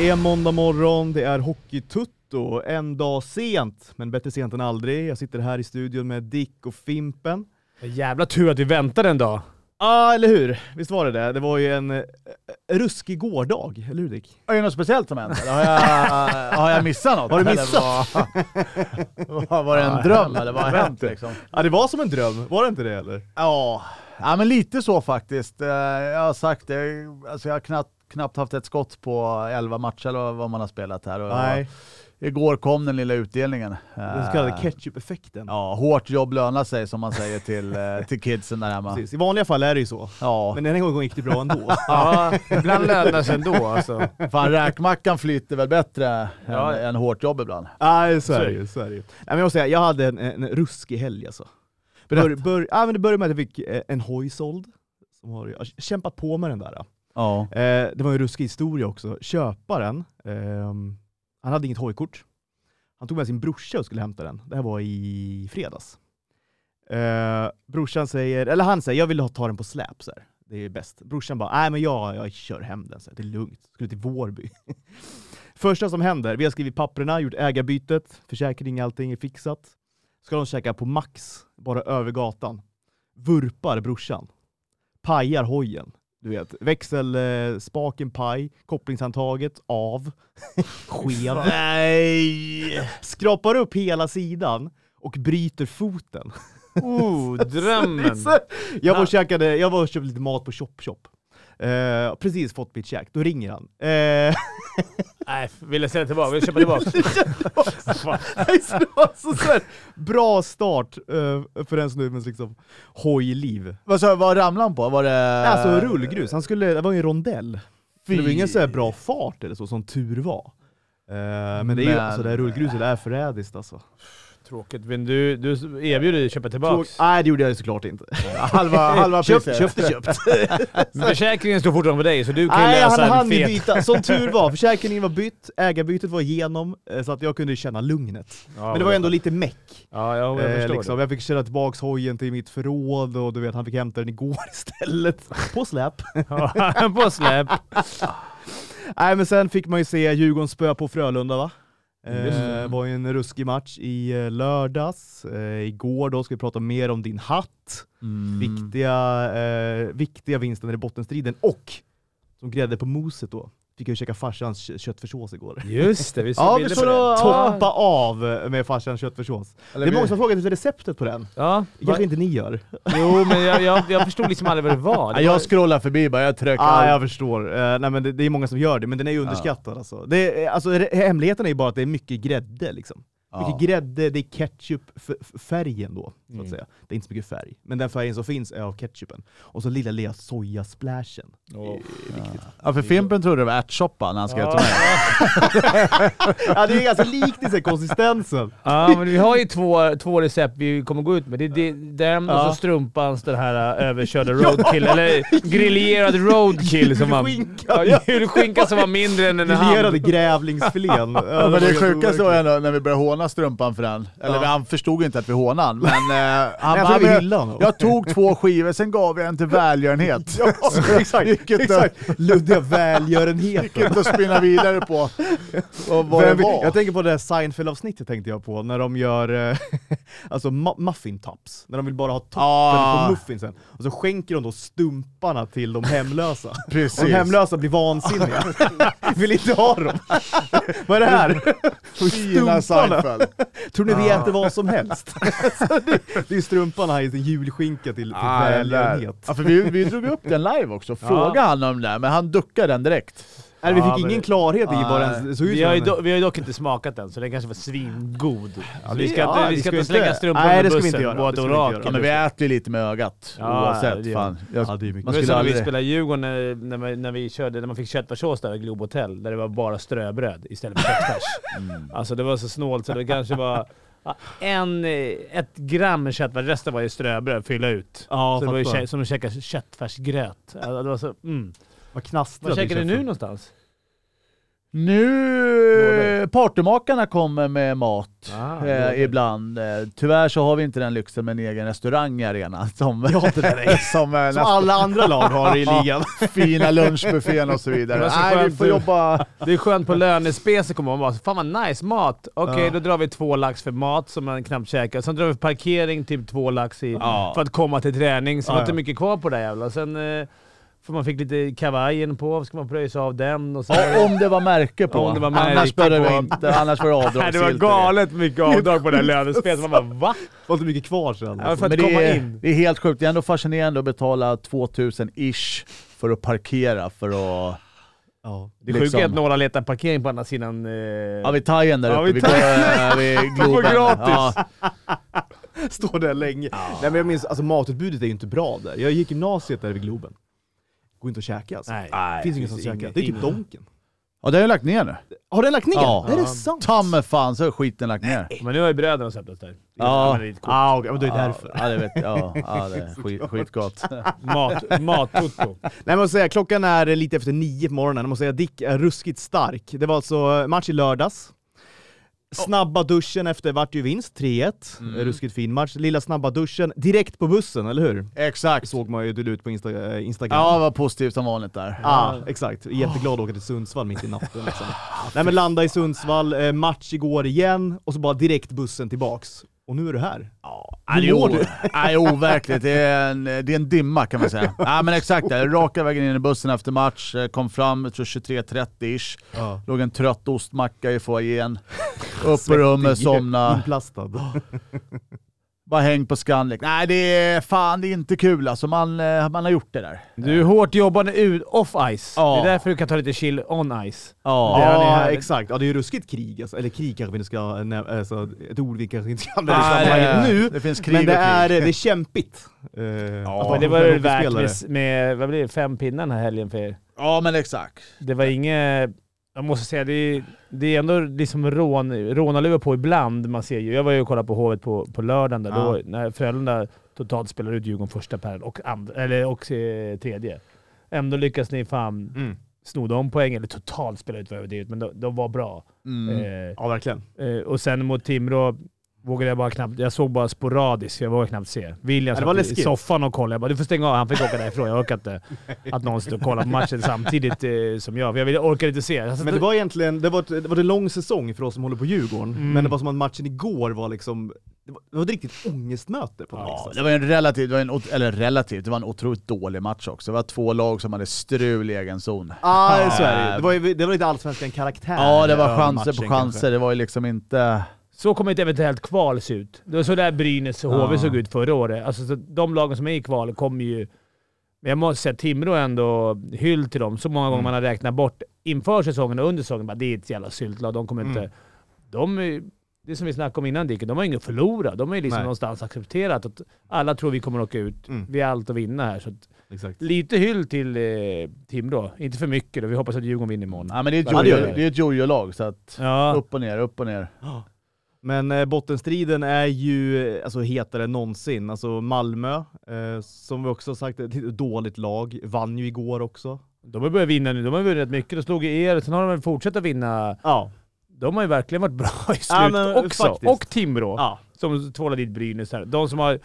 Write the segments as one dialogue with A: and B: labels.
A: är måndag morgon, det är Hockeytutto. En dag sent, men bättre sent än aldrig. Jag sitter här i studion med Dick och Fimpen.
B: Jävla tur att vi väntade en dag.
A: Ja, ah, eller hur? Visst var det det? Det var ju en eh, ruskig gårdag, eller hur Dick?
C: Är det något speciellt som hänt eller? Har jag, har jag missat något?
A: Har du
C: eller
A: missat?
C: Var, var, var det en dröm eller vad har hänt liksom?
A: Ja, det var som en dröm. Var det inte det eller?
C: Ja, ja men lite så faktiskt. Eh, Jag har sagt det, alltså jag har knappt, knappt haft ett skott på 11 matcher eller vad man har spelat här. Och
A: Nej,
C: Igår kom den lilla utdelningen. Eh,
A: den så
B: Äh.
A: kallade ketchup-effekten.
C: Ja, hårt jobb lönar sig som man säger till, eh, till kidsen där hemma.
A: Precis. I vanliga fall är det ju så.
C: Ja,
A: Men den här gången gick det bra ändå.
B: Ja, ibland lönar sig ändå alltså.
C: fan räkmackan flyter väl bättre
B: Ja.
C: än, än hårt jobb ibland.
A: Nej, så är det ju. Så är det ju. Nej, men jag måste säga, jag hade en, en ruskig helg alltså. Bör, bör, ja, men det började med att jag fick eh, en hoj såld. Som har jag har kämpat på med den där. eh.
C: Ja.
A: Eh, det var en ruskig historia också. Köparen, ehm, han hade inget hojkort. Han tog med sin brorsa och skulle hämta den. Det här var i fredags. Eh, brorsan säger, eller han säger, jag vill ha- ta den på släp. Så här. Det är bäst. Brorsan bara, nej men jag, jag kör hem den. Så här. Det är lugnt. Skulle till Vårby. Första som händer, vi har skrivit papperna, gjort ägarbytet, försäkring, allting är fixat. Ska de käka på Max, bara över gatan. Vurpar brorsan. Pajar hojen. Du vet, växelspaken paj, kopplingshandtaget av, skev. Nej! Skrapar upp hela sidan och bryter foten.
B: Oh, drömmen.
A: Jag var och, käkade, jag var och köpte lite mat på Chop Chop. Eh, precis fått mitt käk, då ringer han. Eh,
B: Nej, vill jag sälja tillbaka? Vill jag köpa tillbaka?
A: så det var så så här, bra start eh, för den snubben liksom hojliv.
C: Vad, sa- vad ramlade han på? Var det...
A: Alltså rullgrus, han skulle, det var ju en rondell. Men Det var ingen så här bra fart eller så, som tur var. Eh, men det är ju,
C: Men-
A: alltså det här rullgruset är förrädiskt alltså.
B: Tråkigt, men du, du erbjuder dig att köpa tillbaka.
A: Tråk- Nej det gjorde jag ju såklart inte.
C: Halva, halva
A: Köpt,
C: priset.
A: köpt är köpt.
B: Men försäkringen står fortfarande på dig, så du kan
A: Nej han
B: lösa en
A: hann ju
B: fet...
A: byta. Som tur var, försäkringen var bytt, ägarbytet var igenom, eh, så att jag kunde känna lugnet. Men det var ju ändå lite meck.
B: Ja, jag, jag
A: Jag,
B: förstår
A: liksom.
B: det.
A: jag fick köra tillbaks hojen till mitt förråd och du vet, han fick hämta den igår istället. På släp.
B: Ja, på släp.
A: Nej men sen fick man ju se Djurgården spö på Frölunda va?
B: Just
A: Det
B: det.
A: eh, var ju en ruskig match i eh, lördags. Eh, igår då ska vi prata mer om din hatt.
B: Mm.
A: Viktiga, eh, viktiga vinsten i bottenstriden och som grädde på moset då, fick jag ju käka farsans kö- köttfärssås igår.
B: Just det, vi såg
C: Ja, vi
B: bilder på
C: såg
B: det.
C: då-
A: Toppa av med farsans köttfärssås. Det
C: Eller
A: är många
C: vi-
A: som har frågat efter receptet på den.
B: Ja,
A: Det
B: va?
A: kanske inte ni gör?
B: Jo, men jag, jag, jag förstod liksom aldrig vad det var.
C: Ja,
B: Det var
C: jag scrollar förbi bara, jag tröck
A: Ja, ah,
C: allt.
A: jag förstår. Eh, nej, men det, det är många som gör det, men den är ju underskattad alltså. Det, är- alltså. re- Hemligheten är ju bara att det är mycket grädde liksom.
C: Ja.
A: Mycket grädde, det är ketchupfärgen då, så att
B: Mm.
A: säga. Det är inte så mycket färg, men den färgen som finns är av ketchupen. Och så lilla, lilla sojasplashen.
B: Åh.
C: Ja, för Fimpen trodde det var ärtsoppa när han skrev till mig.
A: ja, det är ganska likt i sig, konsistensen.
B: Ja, men vi har ju två, två recept vi kommer gå ut med. Det är de- den och
A: Ja.
B: så strumpans den här eh, överkörda roadkill, eller grillerad roadkill som var...
A: Julskinka.
B: Ja, julskinka som var mindre än en
A: Filerade
B: hand.
A: grävlingsfilén.
C: Ja, men det sjukaste var ändå när vi började håna strumpan för den. Eller
A: Ja.
C: han förstod inte att vi hånade han, men eh, han
A: jag
C: bara,
A: tror vi
C: "Men
A: hyllade honom."
C: jag tog två skivor, sen gav jag en till välgörenhet.
A: Exakt, exakt. Luddiga välgörenhet.
C: Gick inte att spinna vidare på och vad det
A: Vem vet-
C: var.
A: Jag tänker på det där Seinfeld-avsnittet tänkte jag på, när de gör eh, alltså ma- muffin tops. När de vill bara ha toppen
C: Ah.
A: på muffinsen. Och så skänker de då stumparna till de hemlösa.
C: Precis.
A: Och de hemlösa blir vansinniga. vill inte ha dem. Vad är det här?
C: Fina Seinfeld.
A: Tror ni vi äter vad som helst? Så det, det är strumparna i sin julskinka till, till välgörenhet.
C: Ja, för vi, vi drog upp den live också, frågade han om det, men han duckade den direkt.
A: Nej, vi
B: Ja,
A: fick
B: men-
A: ingen klarhet i vad den det såg ut
B: Vi
A: som
B: har, ju
A: en-
B: do, vi har ju dock inte smakat den, så den kanske var svingod. Så vi
A: det-
B: ska,
A: ja,
B: inte,
A: vi
B: vi ska
A: ska
B: inte
A: ju
B: slänga
A: inte-
B: strumpan
A: Nej,
B: under
A: det ska vi
B: bussen
A: inte göra.
B: på
A: Det
B: ett
A: ska vi inte
B: orakel.
A: göra.
C: Ja, men vi äter ju lite med ögat
B: Ja,
C: oavsett.
B: det gör
C: fan. Jag,
A: Ja, det är mycket.
B: Det
C: man
B: var
C: skulle
B: som när vi
C: aldrig...
B: spelade Djurgården, när, när, vi, när vi körde, när man fick köttfärssås där i Globe Hotel, där det var bara ströbröd istället för köttfärs. Alltså det var så snålt så det kanske var ja, en, eh, ett gram köttfärs, resten var ju ströbröd, fylla ut.
A: Ja,
B: så det var ju
A: fattar.
B: kä- som att käka köttfärsgröt. Alltså, det var så, mm.
A: Vad knastrar
B: Vad
A: det
B: käkar ni
A: känns
B: nu
A: som.
B: någonstans?
C: Nu eh, partymakarna kommer med mat
B: Ah,
C: eh, ibland. Eh, tyvärr så har vi inte den lyxen med en egen restaurang i arenan som, som, eh,
A: Som alla andra lag har i ligan.
C: fina lunchbuffén och så
B: Det
C: vidare.
B: var så
C: Nej, vi
B: skönt
C: får
B: du-
C: jobba...
B: Det är skönt på lönespec kommer man bara fan vad nice mat. Okej,
A: Ja.
B: då drar vi två lax för mat som man knappt käkar. Sen drar vi parkering typ två lax i,
C: Ja.
B: för att komma till träning. Så
A: Ja,
B: var inte
A: ja.
B: mycket kvar på det jävla. Sen eh, för man fick lite kavajen på, ska man pröjsa av den och så.
C: Ja, om det var märke på.
B: Om det var märke
C: annars började
B: på.
C: vi inte. Annars var det
B: Nej,
C: avdragsgillt.
B: det var galet mycket avdrag på det här lönespecet. Man bara va?
A: Det var inte mycket kvar sen.
B: Ja, för att
C: Men det,
B: komma
C: är,
B: in.
C: det är helt sjukt. Det är ändå fascinerande att betala 2000-ish för att parkera för att...
A: Ja.
B: Det sjuka är
C: liksom-
B: att några letar parkering på andra sidan. Eh, ja,
C: Ja, vi tar igen där
B: Ja,
C: uppe.
B: vi
C: Vi,
B: tar-
C: går, eh, vi Globen.
B: gratis.
C: Ja.
A: Står där länge. Nej men jag minns, alltså matutbudet är ju inte bra där. Jag gick gymnasiet där vid Globen. Går inte att käka alltså.
B: Nej.
A: Det
B: Nej,
A: finns inget som käkar.
B: inget-
A: Det är typ
B: inget.
A: Donken.
C: Och det har jag lagt ner nu.
A: Har den lagt ner?
C: Ja.
A: Är det
B: Ja.
A: sant?
C: Ta mig fan så har skiten lagt ner.
B: Men nu har ju bröderna släppt oss där.
C: Ja.
B: Det är ett
A: Ah, okej, men det är
C: Ja,
A: därför.
C: ja, det vet jag. Ja, ja, det är skit, skitgott.
B: Mat, mattoto.
A: Nej, men jag måste säga, klockan är lite efter nio på morgonen. Jag måste säga, Dick är ruskigt stark. Det var alltså match i lördags. Snabba duschen efter vart ju vinst, 3-1.
C: Mm.
A: Ruskigt fin match. Lilla snabba duschen, direkt på bussen, eller hur?
C: Exakt.
A: Såg man ju du la ut på Insta- eh, Instagram.
C: Ja, vad positivt som vanligt där.
A: Ah, exakt. Jätteglad att åka till Sundsvall mitt i natten. Liksom. Nej men landa i Sundsvall, eh, match igår igen, och så bara direkt bussen tillbaks. Och nu är du här.
C: Ja, det är
A: Hur mår
C: o-
A: du?
C: Ja, det är overkligt. Det är en, det är en dimma kan man säga. Ja, men exakt. det. Raka vägen in i bussen efter match. eh, Kom fram, jag tror 23.30ish.
A: Ja.
C: Låg en trött ostmacka i foajén. Upp på rummet, somna.
A: Inplastad.
C: Bara häng på Scandic. Nej, det är fan det är inte kul alltså. Man, eh, man har gjort det där.
B: Du är hårt jobbande ut- off ice.
C: Ja.
B: Det är därför du kan ta lite chill on ice.
A: Ja,
C: Ja.
B: han är här.
A: exakt. Ja, det är ju ruskigt krig. Alltså. Eller krig kanske vi inte ska äh, nä- alltså, ett ord vi kanske inte ska använda i
C: Nej,
A: sammanhanget nu.
C: det finns krig
A: Men det
C: och krig.
A: är, det är kämpigt. Eh, att vara
B: Men det var ju värt
A: hockeyspelare.
B: med, med vad blir det, fem pinnar den här helgen för er.
C: Ja, men exakt.
B: Det var inget... Jag måste säga, det är, det är ändå liksom rån, rånarluvor på ibland. Man ser ju, jag var ju och kollade på Hovet på, på lördagen där,
A: Ja.
B: då, när Frölunda totalt spelar ut Djurgården första pärlen och, and, eller, och eh, tredje. Ändå lyckas ni fan
A: Mm.
B: sno de poängen, eller totalt spela ut vad jag överdrivet, men de, de var bra.
C: Mm.
B: Eh,
A: Ja, verkligen.
B: Eh, och sen mot Timrå vågade jag bara knappt... Jag såg bara sporadiskt, jag vågade knappt se. William
A: Ja, det var
B: satt i
A: läskigt.
B: soffan och kollade. Jag bara “du får stänga av”. Han fick åka därifrån. Jag orkar inte att någon stod och kollade på matchen samtidigt eh, som jag. För jag ville, orkade inte se. Jag satt-
A: Men det var egentligen, det var, ett- det var en lång säsong för oss som håller på Djurgården,
B: Mm.
A: men det var som att matchen igår var liksom, det var, det var ett riktigt ångestmöte på något vis.
C: Ja,
A: alltså.
C: det var en relativt, det var en, ot- eller relativt, det var en otroligt dålig match också. Det var två lag som hade strul i egen zon.
A: Ja, så är det ju. Det var, ju- det var lite allsvenskan karaktär.
C: Ja, det var
A: över
C: chanser på
A: matchen
C: chanser. Det var ju liksom inte...
B: Så kommer ett eventuellt kval se ut. Det var så där Brynäs och HV
C: Ja.
B: såg ut förra året. Alltså, så de lagen som är i kval kommer ju... Men jag måste säga Timrå är ändå hyll till dem. Så många gånger man har räknat bort inför säsongen och under säsongen. Bara, det är ett jävla syltlag. De kommer inte... De, är- det är som vi snackade om innan Dicken, de har inget att förlora. De har ju liksom
A: Nej.
B: någonstans accepterat att alla tror vi kommer åka ut.
A: Mm.
B: Vi har allt att vinna här. Så att,
A: Exakt.
B: lite hyll till eh, Timrå. Inte för mycket då. Vi hoppas att Djurgården vinner imorgon.
C: Ja, men det är ett
B: Ja, det
C: jojo-
B: gör det.
C: det är ett jojo-lag, så att...
B: Ja.
C: Upp och ner, upp och ner.
A: Men eh, bottenstriden är ju eh, alltså, hetare än någonsin. Alltså Malmö, eh, som vi också har sagt, ett dåligt lag, vann ju igår också.
B: De har börjat vinna nu. De har vunnit rätt mycket. De slog ju er. Sen har de väl fortsatt att vinna
A: Ja.
B: De har ju verkligen varit bra i slutet
A: Ja, men
B: också.
A: faktiskt.
B: Och Timrå,
A: ja.
B: som tvålade dit Brynäs. Här. De som har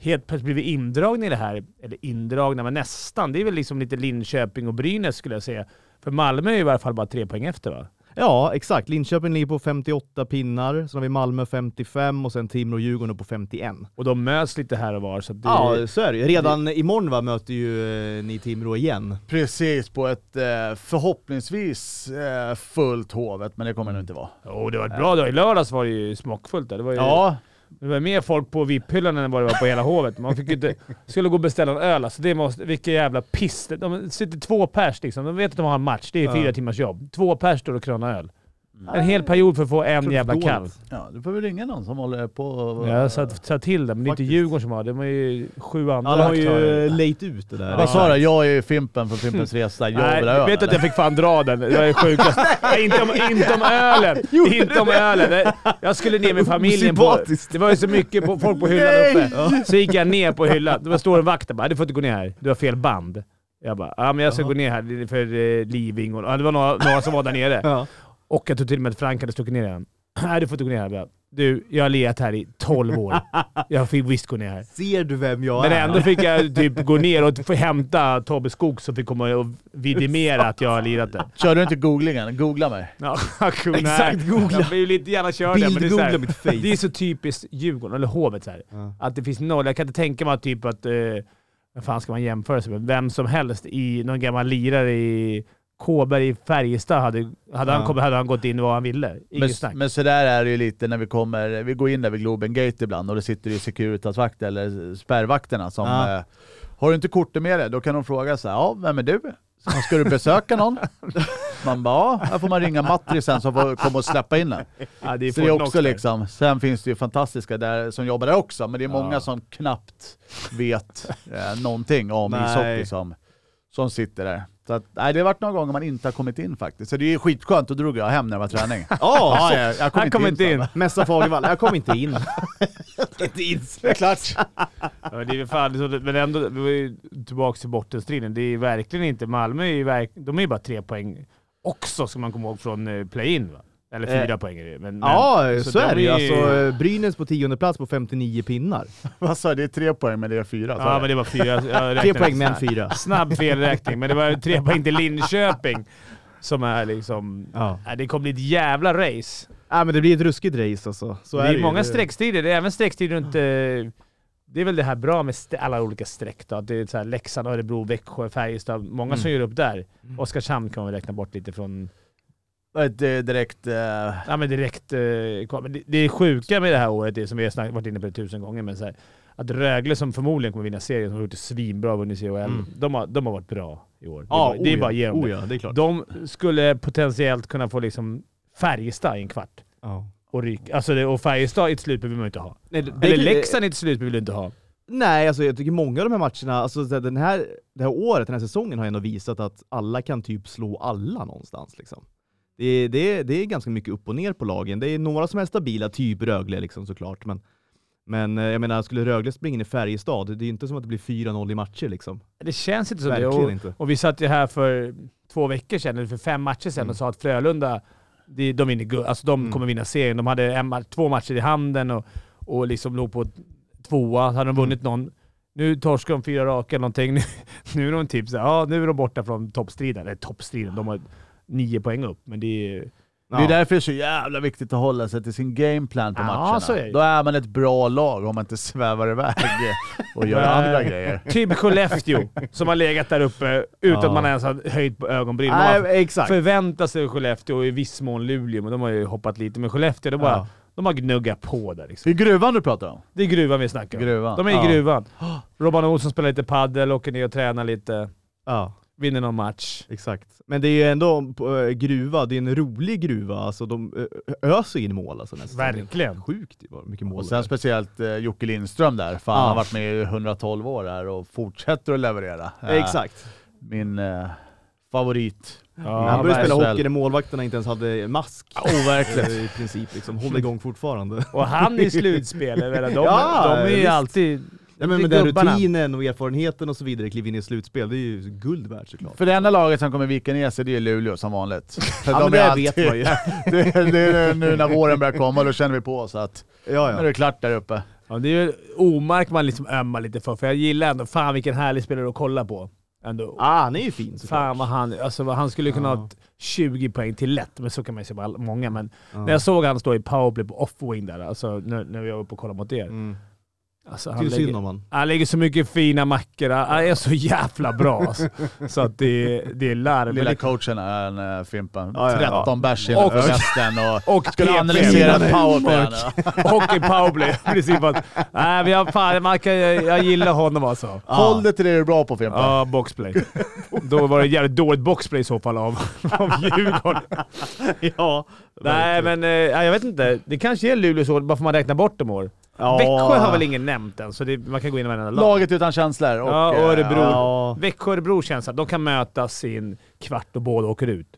B: helt plötsligt blivit indragna i det här, eller indragna, men nästan. Det är väl liksom lite Linköping och Brynäs skulle jag säga. För Malmö är ju i varje fall bara tre poäng efter va?
A: Ja, exakt. Linköping ligger på 58 pinnar, sen har vi Malmö 55 och sen Timrå och Djurgården på 51.
B: Och de möts lite här och var. Så att det,
A: Ja, så är det ju. Redan imorgon va, möter ju eh, ni Timrå igen.
C: Precis, på ett eh, förhoppningsvis eh, fullt Hovet, men det kommer det nog inte vara. Eh,
B: oh, det var ett bra dag. I lördags var det ju smockfullt där. Det var ju
C: Ja,
B: det var mer folk på VIP-hyllan än vad det var på hela hovet. Man fick ju inte, skulle gå och beställa en öl alltså. Det måste, vilken jävla piss. De sitter två pers liksom. De vet att de har en match. Det är
A: Ja.
B: fyra timmars jobb. Två pers står och kranar öl. En hel period för att få en
A: Tror du
B: jävla
A: för dåligt?
B: kalv.
C: ja, du får väl ringa någon som håller på...
B: Jag satt, satt till det, men det är inte
A: Faktiskt.
B: Djurgården som har det. De har ju sju andra
A: Ja, de har ju
B: aktörer.
A: lejt ut det där.
C: Vad sa du? Jag är Fimpen från Fimpens Resa. Jag
B: Nej,
C: vill ha öl,
B: vet du att jag
C: eller?
B: fick fan dra den? Jag är sjukast. Nej, inte, om, inte om ölen! inte om ölen! Nej, Jag skulle ner med familjen på...
A: Osympatiskt.
B: Det var ju så mycket på, folk på hyllan
C: Nej!
B: uppe. Så gick jag ner på hyllan. Det var står en vakt där bara “Du får inte gå ner här, du har fel band”. Jag bara, ja men jag ska
A: Jaha.
B: gå ner här det är för eh, Living och... Ja, det var några, några som var där nere.
A: Ja.
B: Och jag tror till och med att Frank hade stuckit ner den. Nej, du får inte gå ner här. Jag bara, Du, jag har legat här i 12 år. Jag fick visst gå ner här.
A: Ser du vem jag
B: Men
A: är?
B: ändå fick jag typ gå ner och få hämta Tobbe Skog som fick komma och vidimera att jag har lirat det.
C: Kör du inte googlingen? Googla mig.
B: Ja, cool, nej.
A: Exakt, googla.
B: Jag blir ju lite gärna körd där, men det är, så
A: Bildgoogla
B: här,
A: mitt face.
B: det är så typiskt Djurgården, eller Hovet, så här,
A: Ja.
B: att det finns noll. Jag kan inte tänka mig att typ att... Eh, vad fan ska man jämföra sig med? Vem som helst i någon gammal lirare i Kåberg i Färjestad hade, hade, han
A: Ja.
B: kommit, hade han gått in vad han ville.
C: Men,
B: Inget snack.
C: men sådär är det ju lite när vi kommer, vi går in där vid Globen Gate ibland och det sitter ju Securitasvakter eller spärrvakterna som
A: Ja.
C: eh, Har du inte kortet med dig? Då kan de fråga så här, ja vem är du? Så, Ska du besöka någon? Man bara, ja, här får man ringa Matri sen som får komma och släppa in den.
B: Ja, det är
C: Så det är
B: Fortnox där.
C: också liksom, sen finns det ju fantastiska där som jobbar där också, men det är många
B: Ja.
C: som knappt vet eh, någonting om
A: Nej.
C: ishockey som, som sitter där. Så att, nej, det har varit några gånger man inte har kommit in faktiskt. Så det är ju skitskönt, då drog jag hem när det var träning.
A: Ja,
C: Ja, jag, jag kom
B: Han kom inte in.
C: sa
A: Mässa Fagervall. Jag kom inte in. inte
C: han. Klart.
B: Ja, men det är väl fan, det är så- men ändå, vi var ju tillbaka till bottenstriden. Det är ju verkligen inte... Malmö är ju, verk, de är ju bara tre poäng också, ska man komma ihåg, från eh, play-in va? Eller
A: Eh,
B: fyra poäng är det men, men,
A: Ja, så, är
B: de
A: det ju.
B: är
A: Alltså, eh, Brynäs på tionde plats på 59 pinnar.
C: Vad sa jag? Det är tre poäng, men det är fyra. sa
B: Ja,
C: jag.
B: men det var fyra. Jag
A: eh, Tre
B: räknade
A: poäng men
B: snabbt.
A: fyra.
B: Snabb felräkning, men det var tre poäng till Linköping som är liksom...
A: Ja.
B: Nej, Det kommer bli ett jävla race.
A: Ja, men det blir ett ruskigt race alltså. Så
B: det
A: är
B: är,
A: det ju.
B: många
A: Det-
B: streckstider. Det är även streckstider runt... eh, Det är väl det här bra med st- alla olika streck då. Att Det är så här Leksand, Örebro, Växjö, Färjestad. Många
A: Mm.
B: som gör upp där. Oskarshamn kan man väl räkna bort lite från...
C: Ett, eh, direkt... Eh,
B: Ja, men direkt... eh, kvar. Men det, det är sjuka med det här året, det som vi har snack, varit inne på det tusen gånger, men så här, att Rögle som förmodligen kommer vinna serien, som har gjort det svinbra, vunnit CHL.
A: Mm.
B: De, har, de har varit bra i år.
A: Ja,
B: det är bara, det är bara att ge dem
A: oh
B: det.
A: ja, det är klart.
B: De skulle potentiellt kunna få liksom Färjestad i en kvart.
A: Ja.
B: Och, ryk. Alltså det, och Färjestad i ett slutspel vill man ju inte ha.
A: Nej,
B: Eller Leksand i ett slutspel vill du inte ha.
A: Nej, alltså jag tycker många av de här matcherna, alltså så här, den här, det här året, den här säsongen har ändå visat att alla kan typ slå alla någonstans. Liksom. Det, är- det, är- det är ganska mycket upp och ner på lagen. Det är några som är stabila, typ Rögle liksom, såklart. Men, men eh, jag menar, skulle Rögle springa in i Färjestad, det är ju inte som att det blir 4-0 i matcher. Liksom.
B: Det känns inte så. Det.
A: Verkligen
B: Och,
A: inte.
B: och vi satt ju här för två veckor sedan, eller för fem matcher sedan, och sa att Frölunda, de, de, vinner, guld. alltså, de
A: Mm.
B: kommer vinna serien. De hade en, ma- två matcher i handen och, och liksom låg på tvåa. Hade de vunnit någon, nu torskar de fyra raka eller någonting. Nu, nu är de typ såhär, ja nu är de borta från toppstriden. Eller toppstriden, de har nio poäng upp, men det är ju...
A: Ja.
C: Det är därför det är så jävla viktigt att hålla sig till sin gameplan på
B: Ja,
C: matcherna.
B: så är det.
C: Då är man ett bra lag om man inte svävar iväg och gör
B: Nej.
C: andra grejer.
B: Typ Skellefteå, som har legat där uppe utan
A: Ja.
B: att man ens har höjt på ögonbrynen. Man har
A: Nej, exakt.
B: förväntat sig Skellefteå och i viss mån Luleå, men de har ju hoppat lite. Men Skellefteå, de, bara,
A: Ja.
B: de har gnuggat på där liksom.
C: Det är gruvan du pratar om.
B: Det är gruvan vi snackar om.
C: Gruvan.
B: De är i
A: Ja.
B: gruvan. Robban Olsson spelar lite padel, åker ner och tränar lite,
A: Ja.
B: vinner någon match.
A: Exakt. Men det är ju ändå på, eh, gruva, det är en rolig gruva. Alltså de eh, öser in mål alltså nästan.
B: Verkligen.
A: Sjukt vad mycket mål
C: Och
A: det
C: sen
A: är.
C: speciellt eh, Jocke Lindström där. Fan,
A: Ja.
C: han har varit med i 112 år här och fortsätter att leverera. Eh,
A: Exakt.
C: Min eh, favorit.
B: Ja,
A: han började spela
C: verkligen.
A: hockey när målvakterna inte ens hade mask.
C: Oh,
A: Eh, I princip liksom, håller igång fortfarande.
B: Och han i slutspel, jag menar, de,
A: Ja,
B: de är ju
A: visst.
B: alltid...
A: Ja, men
B: Det
A: med
B: är
A: den
B: gubbarna.
A: rutinen och erfarenheten och så vidare, kliva in i slutspel, det är ju guld värt såklart.
C: För det enda laget som kommer vika ner sig, det är Luleå som vanligt. För
A: Ja
C: de
A: men
C: är
A: det
C: alltid-
A: vet man ju. Ja,
C: det, är- det är nu när våren börjar komma, då känner vi på så att nu är
A: ja.
C: det klart där uppe.
B: Ja, det är ju Omark man liksom ömmar lite för, för jag gillar ändå, fan vilken härlig spelare att kolla på. Ändå.
A: Ah, han är ju fin såklart.
B: Fan vad han, alltså vad han skulle kunna ha
A: Ja.
B: t- 20 poäng till lätt, men så kan man ju se på all- många. Men
A: Ja.
B: när jag såg han stå i powerplay på off-wing där, alltså när, när jag var uppe och kollade mot er.
A: Mm.
B: Alltså, han,
A: Tycker synd
B: lägger,
A: om han.
B: han lägger så mycket fina mackor, han han är så jävla bra alltså. Så att det, det är larv.
C: Lilla
B: Men
C: coachen är en äh, Fimpen.
A: Ja, ja, ja.
C: 13 bärs innan
B: Och-
C: festen och,
B: Och
C: skulle
B: PP.
C: analysera
A: Innan
C: powerplayen.
B: Och i powerplay. Precis, för att, nej, men jag, fan, man kan, jag, jag gillar honom alltså.
C: Håll det till det du är bra på Fimpen.
B: Ja, boxplay. Då var det ett jävligt dåligt boxplay i så fall av, av Djurgården.
A: Ja,
B: Nej, men eh, ja, jag vet inte. Det kanske är Luleås år, bara för man räknar bort dem år.
A: ja.
B: Växjö har väl ingen nämnt än, så det, man kan gå in i varenda lag.
C: Laget utan känslor. Och,
B: Ja,
C: eh,
B: Örebro.
C: ja.
A: Ja,
B: Växjö och Örebro känns att de kan mötas i en kvart och båda åker ut.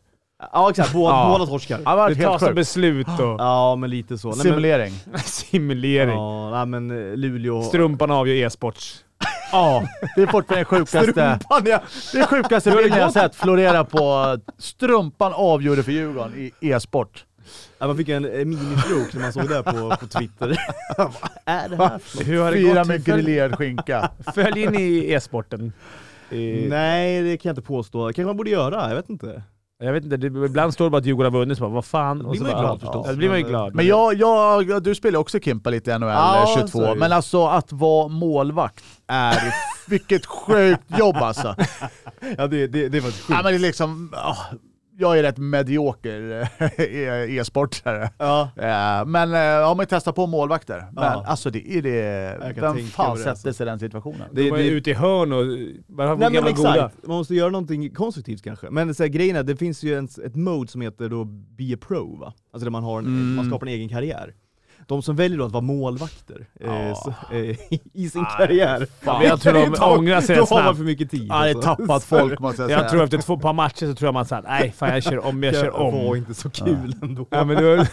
A: ja exakt, båda,
B: Ja.
A: båda torskar.
C: Det har
B: Det
C: varit helt
B: tas ett
C: sjukt.
B: beslut och
A: Ja, men lite så. Nej, men,
C: Simulering.
B: simulering.
A: ja, nej, men eh, Luleå...
B: Strumpan avgör e-sports.
C: Ja, det är fortfarande det sjukaste.
A: Strumpan ja!
C: Det är sjukaste bilden jag har sett florera på strumpan avgjorde för Djurgården i e-sport.
A: ja man fick en eh, ministrok när man såg det på, på Twitter. Vad är det här för något?
B: Hur har det
C: Fyra
B: gått?
C: med
B: Följ-
C: grillerad skinka.
B: Följer ni e-sporten? I-
A: Nej, det kan jag inte påstå. kanske man borde göra, jag vet inte.
B: Jag vet inte, det, ibland står det bara att Djurgården har vunnit, så bara vad fan?
A: Då
B: Och
A: blir
B: så
A: man ju
B: bara,
A: glad förstås.
B: Ja, då blir man ju
A: Men,
B: glad.
C: Men jag, jag, du spelar också Kimpa lite i NHL
A: Ja, så är
C: 22,
A: det.
C: men alltså att vara målvakt är... Vilket sjukt jobb alltså!
A: Ja, det, det, det är faktiskt
C: Ja,
A: sjukt.
C: men det är liksom, ja, jag är rätt medioker eh, e-sportare.
A: Ja.
C: Eh, Men eh, ja, man testar på målvakter. Men
A: Ja.
C: alltså det är det...
A: kan
C: Vem
A: tänka
C: fan
A: mig det,
C: sätter
A: alltså.
C: sig i den situationen?
A: Det,
B: Det, var ju
A: det,
B: ute i hörn och bara
A: nej men
B: gamla goda.
A: exakt, man måste göra någonting konstruktivt kanske. Men så här, grejen är, det finns ju en, ett mode som heter då Be a Pro va? Alltså där man, har en,
C: Mm.
A: man skapar en egen karriär. De som väljer då att vara målvakter eh,
C: Ja.
A: s- eh, i sin
B: Nej,
A: karriär.
B: fan. Jag tror de
A: Då-
B: ångrar sig
A: Då
B: rätt
A: har man
B: snabbt.
A: för mycket tid.
C: Ja, det är
A: alltså.
C: tappat folk måste jag säga.
B: Jag tror efter två par matcher så tror jag man såhär, nej fan jag kör om, jag
A: Det
B: kör
A: var
B: om.
A: inte så kul ändå.
B: Ja, men då,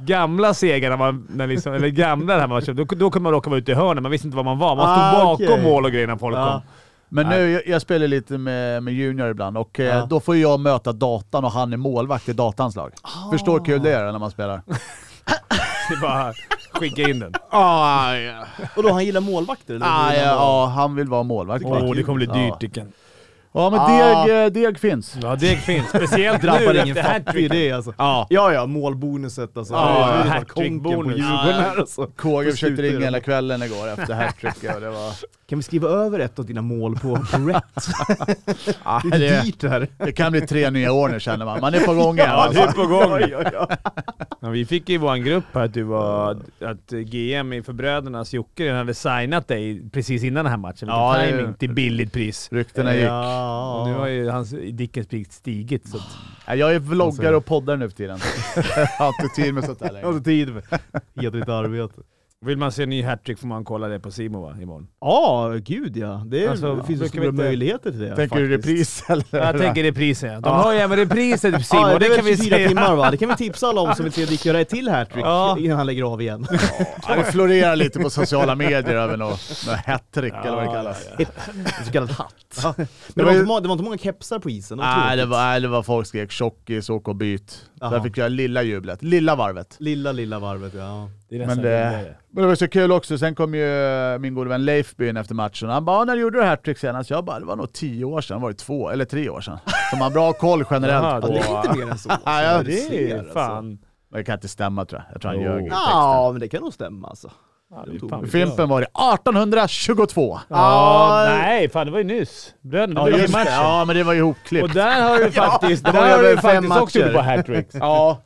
B: gamla segrar, när man, när liksom, eller gamla det här man köpte, då, då kunde man råka vara ute i hörnen. Man visste inte var man var. Man stod
A: Ah,
B: bakom
A: okej.
B: mål och grejer när folk
A: Ja.
B: kom.
C: Men
B: Nej.
C: nu, jag, jag spelar lite med, med Junior ibland och eh,
A: Ja.
C: då får jag möta datan och han är målvakt i datans lag. Förstår hur kul det är när man spelar.
B: Det är bara skicka in den.
C: Ah, ja.
A: Och då han gillar målvakter? Eller vad
C: Ah,
A: vill
C: ja,
A: han vara?
C: ja, han vill vara målvakt.
B: Åh, det kommer bli dyrt Dicken.
C: Ja, men
A: Ah.
C: deg, eh, deg finns.
B: Ja, det finns. Speciellt nu
A: Drabbar ingen
B: efter
A: fattig i
B: hattrick.
A: det alltså.
C: Ja.
A: Ja, ja, målbonuset alltså.
B: Ja,
A: Det är ju bara
B: hattrick
A: konken på
B: bonus.
A: Djurgården här,
C: Ja.
A: alltså.
C: KG
A: Får
C: försökte
A: sluta i
C: ringa
A: det.
C: hela kvällen igår efter hattricket och det var...
A: Kan vi skriva över ett av dina mål på på rep?
C: Ah,
A: Det är
C: det,
A: dyrt det här.
C: det kan bli tre nya år nu känner man. Man är på gång igen.
B: Ja, det är
C: alltså.
B: på gång.
A: Oj, oj, oj.
B: Ja, vi fick ju i vår grupp här att du var... Att GM i Förbrödernas Jocke redan hade signat dig precis innan den här matchen.
C: Ja,
B: Ja,
C: det är ju-
B: timing till billigt pris.
C: Ryktena gick.
B: Och nu har
A: Ja.
B: ju hans Dickens pris stigit. Så att,
C: Nej, Jag är vloggare och poddar nu för tiden. Jag har inte tid med sånt där
A: Jag har
C: längre.
A: inte tid med hederligt arbete.
B: vill man se en ny hattrick får man kolla det på Simo va, imorgon.
A: Ja, gud ja. Det är,
B: Alltså,
A: finns ju
B: brukar vi
A: stora
B: inte-
A: möjligheter till det.
C: Tänker du
A: faktiskt.
C: repris eller?
B: Jag tänker reprisen ja. De har ju även repriser på Simo,
A: Ja,
B: det, kan vi
A: väl 24
B: säga.
A: timmar va? Det kan vi tipsa alla om som vill se Dick göra ett till hattrick
B: Ja.
A: innan han lägger av igen.
C: Ja, det florerar lite på sociala medier över något, något hattrick eller vad det
B: Ja,
C: kallas.
B: ja,
A: En så kallad hatt. Men det
C: Det
A: var,
C: var ju-
A: inte, må- det var inte många kepsar på isen. Det var
C: Nej,
A: tråkigt.
C: det var, nej, det var folk skrek tjockis, åk och byt. Så
A: Jaha.
C: jag fick göra lilla jublet, lilla varvet.
A: Lilla, lilla varvet ja.
B: Det är
C: Men
B: nästan
C: det,
B: roligare.
C: men det var så kul också, sen kom ju min gode vän Leifby in efter matchen han bara "Ah, “När gjorde du hattrick senast?” Jag bara “Det var nog tio år sedan, var det två eller tre år sedan?” Så man har bra koll
B: Jaha,
C: generellt
A: Ja, det är
C: på...
A: inte mer än så.
C: Ja, ja,
A: Som jag
B: Det
A: ser,
B: är
A: alltså.
B: fan...
C: Men det kan inte stämma tror jag. Jag tror han
B: Jo.
C: ljög i texten.
A: Ja, men det kan nog stämma alltså.
B: Ja,
A: De tog
B: fan-
C: Fimpen var det 1822!
B: Ja, nej, fan det var ju nyss. Bröderna, det var ju
C: just det.
B: matchen.
C: ja men det var ju
B: Och
C: ihopklippt.
B: där har du faktiskt,
A: det var ju
B: där har
A: över
B: du
A: fem
B: faktiskt också
A: matcher.
B: gjort på hattricks.
C: Ja,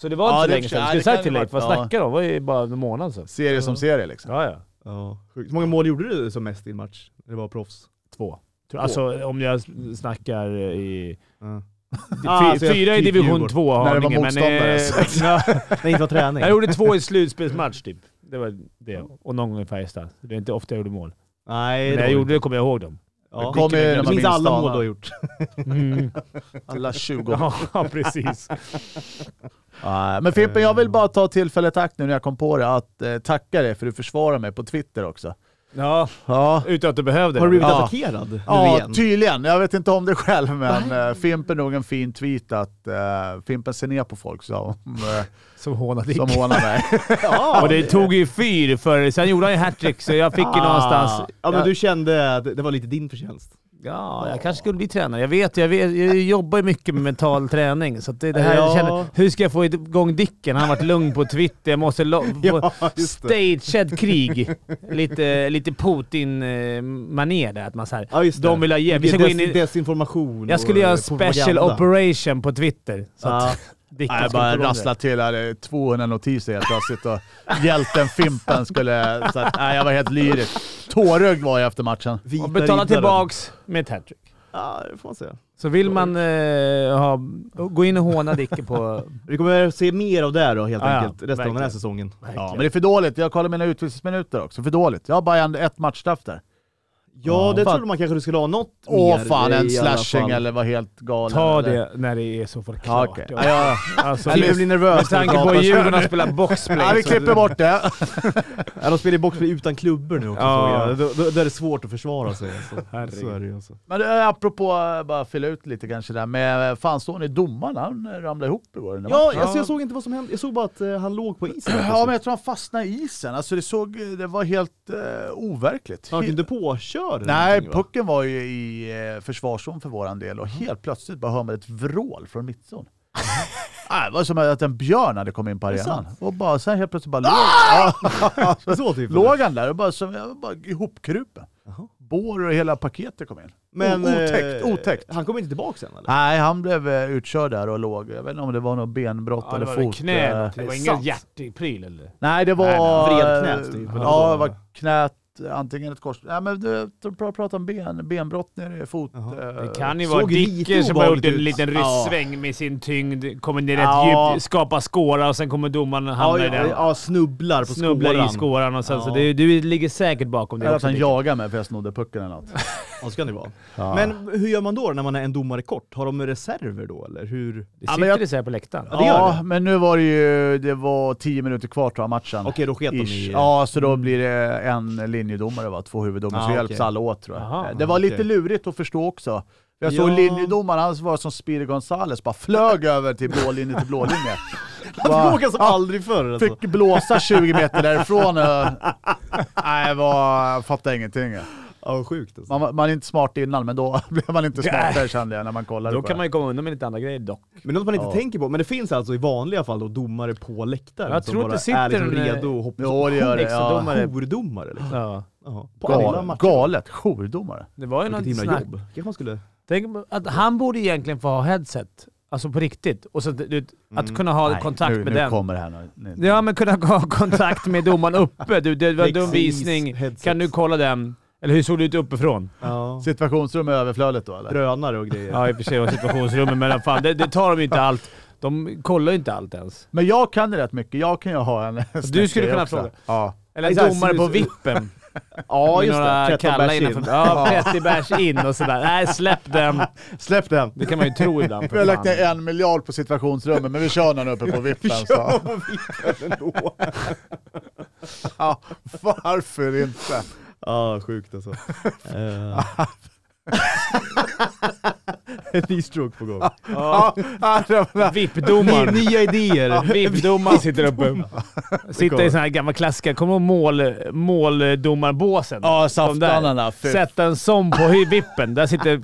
B: Så det var
C: Ja,
B: inte så
C: det
B: länge
C: kan-
B: sedan.
C: det
B: Skulle säga
C: kan
B: till
C: det
B: Leif, vad
C: varit, ja.
B: snackar du om? Det var ju bara en månad sedan.
C: serie som serie liksom.
B: Ja, ja.
A: Ja, sjukt. Hur många mål gjorde du som mest i en match? När det var proffs?
B: Två. Alltså om jag snackar i...
A: Ja.
B: Fy,
A: Ah, alltså, jag
B: fyra i
A: typ
B: division
A: Djurgården.
B: 2 har
C: När det var
B: Haninge, men,
C: motståndare,
B: eh,
C: så.
B: ja.
A: Nej, inte var träning.
B: Jag gjorde två i slutspelsmatch typ. Det var det. Och någon gång i Färjestad. Det är inte ofta jag gjorde mål.
A: Nej,
B: Men
A: det
B: när jag
A: var-
B: gjorde det kommer jag ihåg dem.
A: Ja.
C: Det kommer ju när
A: jag
C: man
A: minns
C: minst
A: alla mål
C: anar.
A: du har gjort.
C: Alla 20
B: Ja, precis.
C: Ja, men Fimpen, jag vill bara ta tillfället i akt nu när jag kom på det att eh, tacka dig för du försvarar mig på Twitter också.
B: Ja,
C: Ja,
B: utan att du behövde
A: Har du blivit
B: det.
C: Ja.
A: attackerad nu
C: ja
A: igen?
C: tydligen. Jag vet inte om det själv, men eh, Fimpen nog en fin tweet att eh, Fimpen ser ner på folk sa hon, eh,
B: Som hånade
C: som hånar mig.
B: Ja, och det tog ju fyr för sen gjorde han ju hattrick så jag fick ju någonstans...
A: Ah. Ja, men
B: jag,
A: du kände att det det var lite din förtjänst.
B: ja, jag kanske skulle bli tränare. Jag vet jag, vet, jag jobbar ju mycket med mental träning. Så att det, det här,
A: Ja.
B: jag känner, hur ska jag få igång Dicken? Han har varit lugn på Twitter. Jag måste lo- få
A: Ja, just
B: staged krig. Lite, lite Putin-manér där. Att man så här,
A: Ja, just det.
B: de vill ha hjälp. Vi ska
A: Des-
B: gå in i,
A: Desinformation
B: jag skulle
A: och,
B: göra en
A: eh,
B: special
A: propaganda.
B: operation på Twitter. Så att
A: Ja.
B: Dicken
C: Jag
B: skulle
C: bara
B: få igång det.
C: rasslar till här, det är 200 notiser helt plötsligt och hjälten Fimpen skulle... Så att, nej, jag var helt lyrisk. Tårögd var jag efter matchen.
A: Vita
B: Och betala
A: riddaren.
B: tillbaks med ett hattrick.
A: Ja, det får man säga.
B: Så vill man eh, ha, gå in och håna Dicke på...
A: Vi kommer se mer av det här då helt
B: Ja, ja,
A: enkelt resten av den här
B: verkligen.
A: säsongen.
C: Ja, men det är för dåligt. Jag kollar mina utvisningsminuter också. För dåligt. Jag har bara en- ett matchstraff där.
A: Ja, det
C: Fan.
A: trodde man kanske du skulle ha något
C: Åh
A: mer
C: fan,
A: i
C: en
A: alla
C: slashing
A: fall.
C: eller var helt galen.
B: Ta
C: eller?
B: det när det är så fall
C: Ja,
B: klart.
C: okej. Ja, ja.
B: Alltså,
A: Jag blir nervös.
B: med tanke på hur Djurgården spelar boxplay.
C: ja, vi
B: så-
C: klipper bort det.
A: Ja, de spelar ju boxplay utan klubbor nu också
B: Ja.
A: såg jag. Då, då, då är det svårt att försvara sig. Alltså.
B: Herregud.
A: Så är det ju alltså.
C: Men eh, apropå, eh, bara fylla ut lite kanske där, men fan såg ni domaren? Han eh, ramlade ihop igår. den där
A: Ja,
C: matchen.
A: alltså, jag såg inte vad som hände. Jag såg bara att eh, han låg på isen.
C: ja, men jag tror han fastnade i isen. Alltså det såg, det var helt eh, overkligt.
A: Han kunde påkörd eller
C: Nej,
A: någonting, va?
C: pucken var ju i eh, försvarszon för våran del och helt plötsligt bara hör man ett vrål från mittzon. Nej, det var som att en björn hade kommit in på
A: det
C: arenan.
A: sant?
C: Och bara, sen helt plötsligt bara låg, ja,
A: Så typ.
C: låg han där och bara, som, jag var bara ihopkrupen.
A: Jaha.
C: Bår och hela paketet kom in.
A: Men,
C: O- otäckt,
A: eh,
C: otäckt.
A: Han kom inte tillbaka sen eller?
C: Nej, han blev eh, utkörd där och låg. Jag vet inte om det var något benbrott
B: Ja, det
C: eller
B: var väl
C: fot.
B: knä.
C: eh,
B: eller något. Det var
A: det är
B: ingen
A: sant.
B: hjärtepryl eller?
C: Nej, det var... eh,
A: Nej, men vredknät, typ.
C: Ja, det var knät, antingen ett kors... Nej, men du du pratar om ben, benbrott nere i fot.
A: Jaha.
C: eh,
B: Det kan ju
A: såg
B: vara
A: lite
B: Dicken som har gjort
A: obehagligt
B: en
A: ut.
B: liten
C: Ja.
B: ryssväng med sin tyngd, kommer ner rätt
C: Ja.
B: djupt, skapar skåra och sen kommer domaren och
A: Ja,
B: hamnar i
A: ja,
B: den.
A: ja, snubblar på
B: Snubblar
A: skåran.
B: i skåran och sen så
C: Ja.
B: du, du ligger säkert bakom det
C: Eller att
B: också.
C: han
B: Dicken.
C: jagade mig för jag snodde pucken eller något.
A: Ja, ska det vara.
C: Ja.
A: Men hur gör man då när man är en domare kort? Har de reserver då eller? Hur?
B: Det
C: Ja,
B: sitter
C: men jag-
B: det så här på läktaren.
A: det gör
C: ja, men nu var det ju... Det var tio minuter kvar tror jag matchen.
A: Okej, då sket de
C: Ish.
A: i...
C: Ja, så då blir det en linjedomare va? Två huvuddomare,
A: Ja,
C: så hjälps
A: Ah, okej.
C: alla åt tror jag.
B: Aha,
C: det var
A: okej.
C: lite lurigt att förstå också. Jag
A: Ja.
C: såg linjedomaren, han var som Speedy Gonzales, bara flög över till blå linje till blå linje.
A: Han
C: Bara-
A: frågar som
C: Ja,
A: aldrig förr alltså.
C: Fick blåsa 20 meter därifrån. och- Nej, jag var, jag fattade ingenting.
A: Ja, vad sjukt alltså.
C: Man, var- man är inte smart innan, men då blev man inte smartare kände jag när man kollade
B: Då
C: på
B: kan man
C: det.
B: ju komma undan med lite andra grejer dock.
A: Men något man inte
C: Ja.
A: tänker på. Men det finns alltså i vanliga fall då domare på läktaren
B: Jag
A: som
B: tror att
A: bara
B: det sitter
A: är liksom
B: en, eh,
A: redo att hoppa
C: Jo, det gör det. Ja.
B: Extradomare.
A: Jourdomare liksom.
B: Ja.
A: Jaha. På alla
C: Gal,
A: matcher.
C: galet. Jourdomare.
B: Det var ju något
A: Vilket himla
B: snack.
A: jobb. Kanske man skulle...
B: Tänk att han borde egentligen få ha headset. Alltså på riktigt. Och så, att- du,
A: Mm.
B: att kunna ha kontakt
C: nu,
B: med
C: nu
B: den.
C: kommer det här nu. nu.
B: Ja, men kunna ha kontakt med domaren uppe. Du, det var en dum
A: Precis,
B: visning.
A: headset.
B: Kan du kolla den? Eller hur såg det ut uppifrån?
A: Ja.
C: Situationsrum är överflödigt då eller?
A: Drönare och grejer.
B: Ja, i och för sig var situationsrummen, men fan, det, det tar de ju inte allt. De kollar ju inte allt ens.
C: Men jag kan det rätt mycket. Jag kan ju ha en
B: skulle
C: snäckgrej
B: kunna
C: också.
B: fråga.
C: Ja.
B: Eller en
A: Exakt,
B: domare
A: så-
B: på
A: så-
B: vippen.
A: Ja,
B: med
A: just
B: några
A: det. 13
B: kalla
A: bärs in.
B: innanför. Ja, 30 bärs in och sådär. Nej, släpp den.
A: Släpp den.
B: Det kan man ju tro ibland. för
C: Vi har lagt
B: fan.
C: ner en miljard på situationsrummen, men vi kör den uppe på vippen. Så.
A: på vippen ändå.
C: Ja, varför inte?
A: Ja, sjukt alltså. Eh. Ett ny stroke på gång.
B: Ja,
C: Ja, det var-
A: Ny,
B: Vippdomaren.
A: nya idéer.
B: Vippdomaren sitter uppe. Sitter i sån här gammal klassiker. Kommer du ihåg mål, måldomarbåsen?
C: Ja,
B: De där.
C: saftanarna. fy
B: Sätta en sån på hy- vippen. Där sitter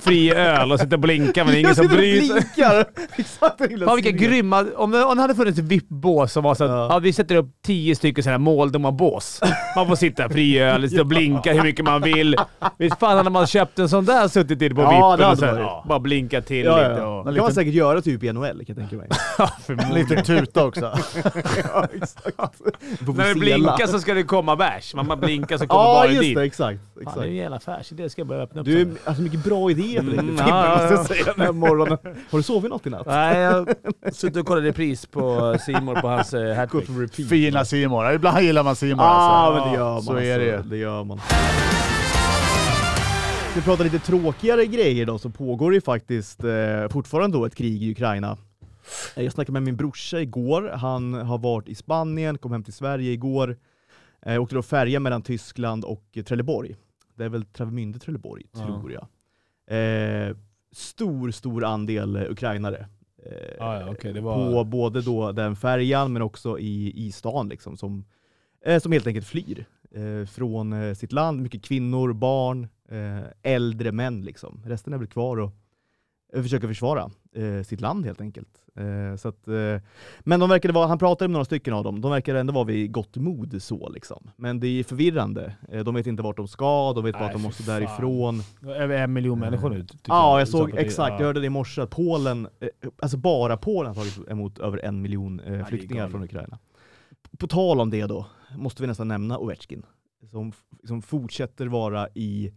B: fri öl och sitter och blinkar, men det är ingen som bryr sig.
A: blinkar. Exakt.
B: Fan vilka grymma... Om det, om det hade funnits ett vippbås som var så att
A: Ja.
B: ja. vi sätter upp tio stycken sådana här måldomarbås. Man får sitta fri öl, sitta och blinka hur mycket man vill. Visst fan hade man köpt en sån där och suttit i på
A: Ja, det
B: vippen
A: hade
B: och så här,
A: varit.
B: ja, bara blinka till
A: Ja, ja,
B: lite.
A: ja.
B: Och,
A: Det kan man säkert göra typ i NHL kan jag tänka mig.
C: Lite tuta också.
A: ja, exakt.
B: När du blinkar så ska det komma bärs. Man bara blinkar så kommer
A: Ja,
B: bara
A: just
B: dit.
A: det. Exakt.
B: Fan, det är
A: exakt.
B: ju en jävla affärsidé. ska jag börja öppna upp
A: Du
B: sen.
A: är alltså mycket bra idéer för dig.
B: Mm,
A: Fimpen,
B: ja, ja, ja.
A: måste jag säga den här morgonen. Har du sovit något i natt?
B: Nej, jag suttit och kollat repris på Simon på hans eh,
A: Gått
B: hattrick.
A: på repeat.
C: Fina Simon. Ibland gillar man Simon
A: Ah,
C: alltså.
A: men det gör man.
C: Så är det ju.
A: alltså. det gör man. Vi pratar lite tråkigare grejer då, så pågår det ju faktiskt eh, fortfarande då ett krig i Ukraina. Eh, Jag snackade med min brorsa igår. Han har varit i Spanien, kom hem till Sverige igår. Eh, åkte då färja mellan Tyskland och eh, Trelleborg. Det är väl Travemünde Trelleborg,
B: Ja.
A: tror jag. Eh, stor, stor andel eh, ukrainare. Eh,
B: Ja, ja, okej, det
A: på
B: var...
A: både då den färjan men också i, i stan liksom, som, eh, som helt enkelt flyr eh, från eh, sitt land. Mycket kvinnor, barn, eh, äldre män. Liksom. Resten är väl kvar och eh, försöker försvara eh, sitt land helt enkelt. Eh, så att, eh, men de verkade vara, han pratade med några stycken av dem, de verkade ändå vara vid gott mod. så liksom. Men det är förvirrande. Eh, de vet inte vart de ska, de vet bara
B: Nej,
A: att de
B: fy
A: måste
B: fan.
A: därifrån.
B: Över en miljon människor nu. tycker
A: Ja, jag såg
B: Utanför det.
A: exakt. Jag
B: Ja.
A: hörde det i morse att Polen, eh, alltså bara Polen har tagit emot över en miljon eh, flyktingar
B: galet.
A: från Ukraina. På tal om det då, måste vi nästan nämna Ovechkin. Som, f- som fortsätter vara i,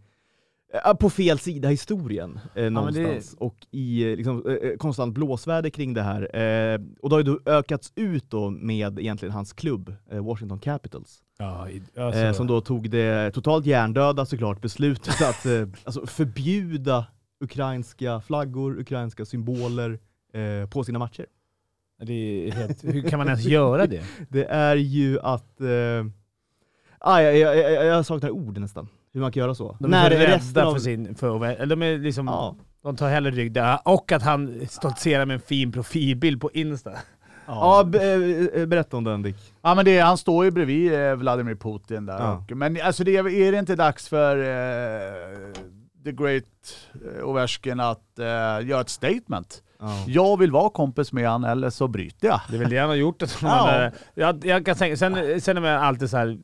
A: eh, på fel sida historien eh,
B: men det-
A: någonstans. Och i eh, liksom, eh, konstant blåsväder kring det här. Eh, och det har ju då ökats ut då med egentligen hans klubb, eh, Washington Capitals.
B: Ja, i-
A: eh,
B: alltså,
A: som då tog det totalt hjärndöda såklart beslutet att eh, alltså förbjuda ukrainska flaggor, ukrainska symboler eh, på sina matcher.
B: det är helt, hur kan man ens göra det?
A: Det är ju att... Eh, ah, jag, jag, jag, jag saknar ord nästan, hur man kan göra så.
B: De är så
A: resten
B: rädda
A: av-
B: för sin... För, att vä- eller de, är liksom,
A: Ja.
B: de tar hellre rygg där. Och att han stoltserar med en fin profilbild på Insta.
A: Ja, be- eh, eh, berätta om den Dick.
C: Ja men det, är- han står ju bredvid eh, Vladimir Putin där.
A: Ja.
C: Och, men alltså det, är det inte dags för eh, the great eh, Ovechkin att eh, göra ett statement?
A: Ja.
C: Jag vill vara kompis med han eller så bryter jag.
B: Det är väl det han har gjort. Att de
C: Ja.
B: andra- jag, jag kan tänka, sen, sen är det alltid så här.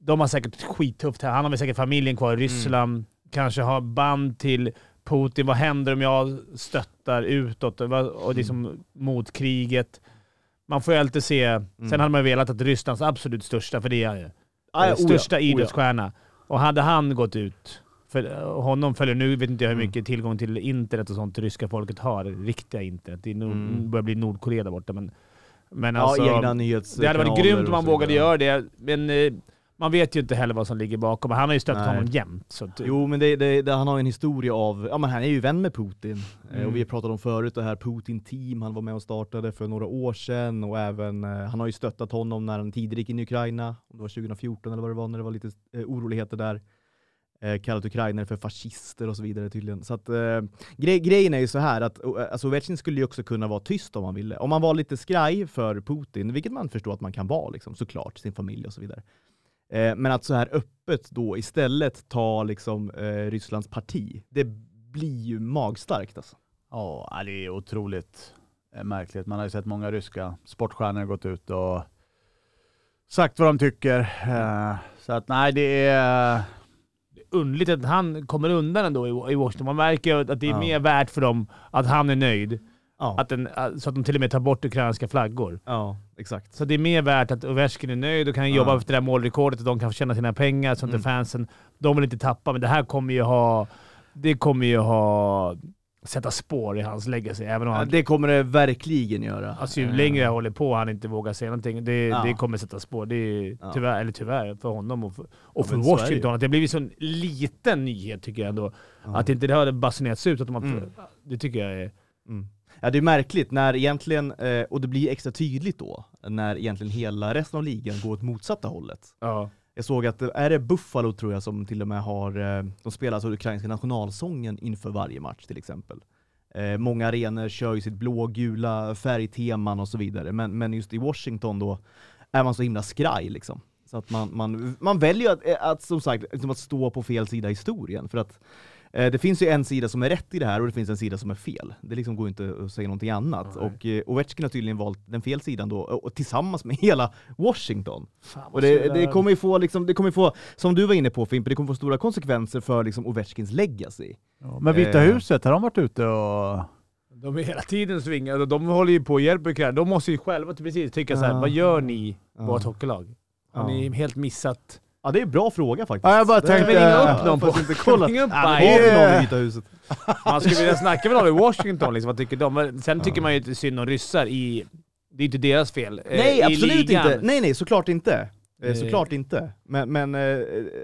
B: De har säkert skittufft här. Han har väl säkert familjen kvar i Ryssland. Kanske har band till Putin. Vad händer om jag stöttar utåt och, vad- och liksom mot kriget? Man får ju alltid se. Sen hade man ju velat att Rysslands absolut största, för det är han ju,
A: Ah, ja,
B: eh,
A: oh ja,
B: största
A: oh ja.
B: idrottsstjärna. Och hade han gått ut, för eh, honom följer nu, vet inte jag hur
A: Mm.
B: mycket tillgång till internet och sånt ryska folket har, riktiga internet. Det är nord,
A: Mm.
B: börjar bli Nordkorea där borta, men men
A: Ja,
B: alltså,
A: egna nyhetskanaler
B: det hade varit grymt om
A: och
B: man
A: så
B: vågade
A: vidare.
B: göra det, men eh, man vet ju inte heller vad som ligger bakom. Han har ju stöttat
A: Nej.
B: honom jämt. Så att,
A: Jo, men det, det, det, han har ju en historia av, ja men han är ju vän med Putin. Eh,
B: Mm.
A: Och vi pratade om förut det här Putin Team han var med och startade för några år sedan och även, eh, han har ju stöttat honom när han tidigare gick in i Ukraina, om det var 2014 eller vad det var, när det var lite eh, oroligheter där. Eh, kallat ukrainare för fascister och så vidare tydligen. Så att, eh, gre- grejen är ju så här att eh, alltså, Ovechkin skulle ju också kunna vara tyst om han ville. Om man var lite skraj för Putin, vilket man förstår att man kan vara liksom, såklart, sin familj och så vidare. Eh, men att så här öppet då istället ta liksom, eh, Rysslands parti, det blir ju magstarkt alltså.
C: Ja, det är otroligt eh, märkligt. Man har ju sett många ryska sportstjärnor gått ut och sagt vad de tycker. Eh, Så att nej, det är...
B: Underligt att han kommer undan ändå i, i Washington. Man märker ju att det är
A: Ja.
B: mer värt för dem att han är nöjd.
A: Ja,
B: Att den, att- så att de till och med tar bort ukrainska flaggor.
A: ja exakt.
B: Så det är mer värt att Ovechkin är nöjd och kan
A: Ja.
B: jobba efter det här målrekordet och de kan tjäna sina pengar så att
A: Mm.
B: fansen, de vill inte tappa. Men det här kommer ju ha... Det kommer ju ha... Sätta spår i hans legacy, även om
A: Ja,
B: han
A: det kommer det verkligen göra.
B: Alltså ju
A: Eh,
B: längre jag håller på och han inte vågar säga någonting, det,
A: Ja.
B: det kommer sätta spår. Det är
A: Ja.
B: tyvärr, eller tyvärr, för honom och för, och
A: Ja,
B: för
A: men så är det
B: Washington. Att det har blivit så en liten nyhet tycker jag ändå.
A: Ja.
B: Att inte det har basunerats ut. Att man,
A: Mm.
B: Det tycker jag är...
A: Mm. Ja, det är märkligt när egentligen, eh, och det blir extra tydligt då, när egentligen hela resten av ligan går åt motsatta hållet.
B: Ja.
A: Jag såg att, det- är det Buffalo tror jag som till och med har, eh, de spelar alltså ukrainska nationalsången inför varje match till exempel. Eh, många arenor kör ju sitt blågula färgteman och så vidare, men, men just i Washington då är man så himla skraj liksom. Så att man, man, man väljer att, eh, att som sagt liksom att stå på fel sida i historien. För att eh, det finns ju en sida som är rätt i det här och det finns en sida som är fel. Det liksom går ju inte att säga någonting annat.
B: Nej.
A: Och eh, Ovechkin har tydligen valt den fel sidan då, och, och tillsammans med hela Washington.
B: Fan, vad
A: Och det,
B: så jävla-
A: det kommer ju få, liksom, det kommer ju få, som du var inne på Fimpen, det kommer få stora konsekvenser för liksom, Ovechkins legacy.
C: Men Vita
A: Eh.
C: huset, har de varit ute och...
B: De är hela tiden svingade och de håller ju på och hjälper Ukraina. De måste ju själva till precis tycka så här,
A: Ja.
B: vad gör ni,
A: Ja.
B: vårt hockeylag? Har
A: Ja.
B: ni helt missat?
A: Ja, det är en bra fråga faktiskt.
C: Ja, jag bara
B: Ska vi
C: tänkte...
B: ringa upp någon på...
A: Fast inte kolla.
B: Ring upp
A: Ja,
B: Bayern.
A: det
C: Bayern.
A: var någon i Vita huset.
B: Man skulle vilja snacka med någon i Washington, liksom, vad tycker de? Men Sen tycker man ju inte synd om ryssar i... Det är inte deras fel. eh,
A: Nej,
B: i
A: absolut
B: ligan.
A: inte. Nej, nej, såklart inte. Eh,
B: Eh.
A: Såklart inte. Men, men eh,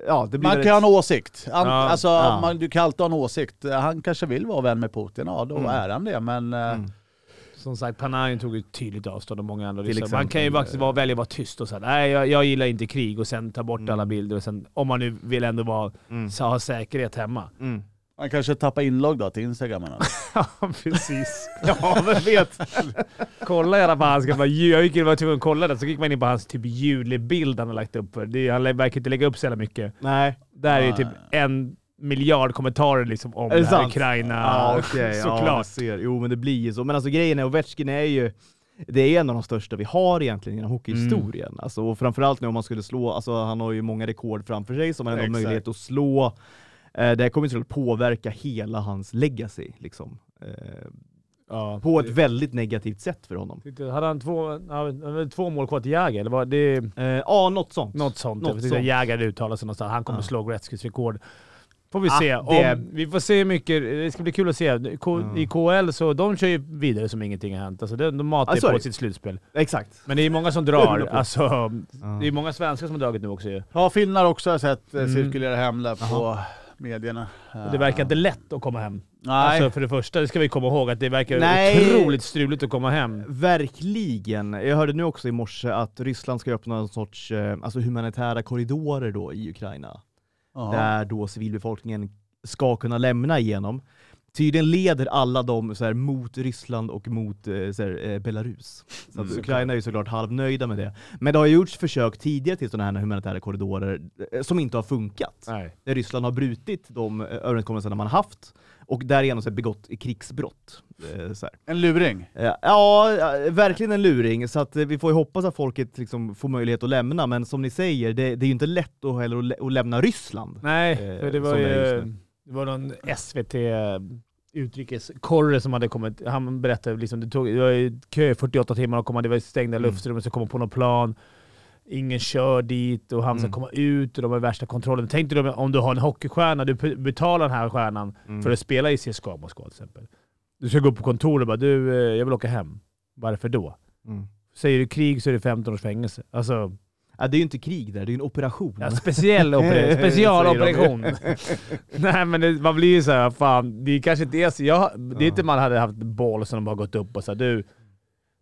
A: ja, det blir
C: Man
A: väl
C: kan ha
A: ett-
C: en åsikt. Han,
B: Ja.
C: alltså,
A: Ja.
C: Man, du kan alltid ha en åsikt. Han kanske vill vara vän med Putin, ja då
A: Mm.
C: är han det. Men eh,
A: Mm.
B: Som sagt, Panarin tog ju tydligt avstånd och många andra
A: Till
B: ryssar. Man
A: exempel, eh,
B: kan ju faktiskt vara, välja att vara tyst och säga nej, jag, jag gillar inte krig och sen ta bort
A: Mm.
B: alla bilder och sen, om man nu vill ändå vara,
A: Mm.
B: så ha säkerhet hemma.
A: Mm.
C: han kanske tappar inlogg då till Instagram. eller något.
B: Ja, precis.
A: Ja, vem vet?
B: Kolla i alla fall. Han ska bara, jag gick, jag var tvungen att kolla det, så gick man in på hans typ julbild han har lagt upp. Det, han verkar inte lägga upp så jävla mycket.
A: Nej.
B: Där är ju typ en miljard kommentarer liksom om
A: Är
B: det,
A: det
B: här
A: sant?
B: Ukraina.
A: Ja, okej. Ja, jag
B: Såklart.
A: ser. Jo, men det blir ju så. Men alltså grejen är, Ovechkin är ju, det är en av de största vi har egentligen inom hockeyhistorien. Alltså, och framförallt nu om man skulle slå, alltså han har ju många rekord framför sig som han ändå har
C: Exakt.
A: möjlighet att slå. Eh, det här kommer ju såklart påverka hela hans legacy, liksom. Eh,
B: Ja.
A: på ett väldigt negativt sätt för honom.
B: Tyckte- Hade han två, han hade två mål kvar till Jäger? Eller var det
A: Eh, Ja, något sånt.
B: något sånt?
A: Något
B: jag tyckte
A: sånt.
B: Jäger uttalade sig någonstans. Han kommer
A: Ja.
B: slå Gretzkys rekord. Får vi
C: Ah,
B: se.
C: det-
B: Om, vi får se hur mycket. Det ska bli kul att se. K,
A: Mm.
B: I KL så de kör ju vidare som ingenting har hänt. Alltså de, de matar
A: Ja,
B: ju
A: Ah, så är
B: på
A: det.
B: sitt slutspel.
A: Exakt.
B: Men det är många som
A: Det är
B: drar.
A: hundra på.
B: Alltså,
A: Ja.
B: det är många svenskar som har dragit nu också ju.
C: Ja, finnar också har jag sett eh,
B: Mm.
C: cirkulera hem där på medierna. Eh,
B: Och det verkar inte lätt att komma hem.
C: Nej.
B: Alltså för det första, det ska vi komma ihåg, att det verkar
A: Nej.
B: otroligt struligt att komma hem.
A: Verkligen. Jag hörde nu också i morse att Ryssland ska öppna någon sorts eh, alltså humanitära korridorer då i Ukraina.
C: Ja.
A: Där då civilbefolkningen ska kunna lämna igenom. Tydligen leder alla de så här, mot Ryssland och mot eh, så här, eh, Belarus. Så att
D: Mm.
A: Ukraina är ju såklart halvnöjda med det. Men det har gjorts försök tidigare till sådana här humanitära korridorer eh, som inte har funkat.
B: Nej.
A: Där Ryssland har brutit de eh, överenskommelserna man haft och därigenom så här, begått krigsbrott. Eh, så här.
C: En luring.
A: Eh, Ja, eh, verkligen en luring. Så att eh, vi får ju hoppas att folket liksom får möjlighet att lämna. Men som ni säger, det, det är ju inte lätt att, heller att, lä- att lämna Ryssland.
B: Nej,
A: Eh,
B: för det var
A: som
B: ju
A: det är just
B: det var någon SVT utrikeskorre som hade kommit. Han berättade liksom, det tog det var ju kö i 48 timmar och komma, det var stängda
A: Mm.
B: luftrum, så kom man på någon plan. Ingen kör dit och han ska
A: Mm.
B: komma ut och de har värsta kontrollen. Tänk dig då om du har en hockeystjärna, du p- betalar den här stjärnan
A: Mm.
B: för att spela i CSKA Moskva till exempel. Du ska gå upp på kontoret och bara du, eh, jag vill åka hem. Varför då?
A: Mm.
B: Säger du krig så är det 15 års fängelse. Alltså,
A: Ja, det är ju inte krig där, det är ju en operation.
B: ja, speciell operation. Specialoperation. Nej men det, man blir ju såhär, fan, det kanske inte är så. Jag, det är inte man hade haft boll som de har gått upp och såhär, du.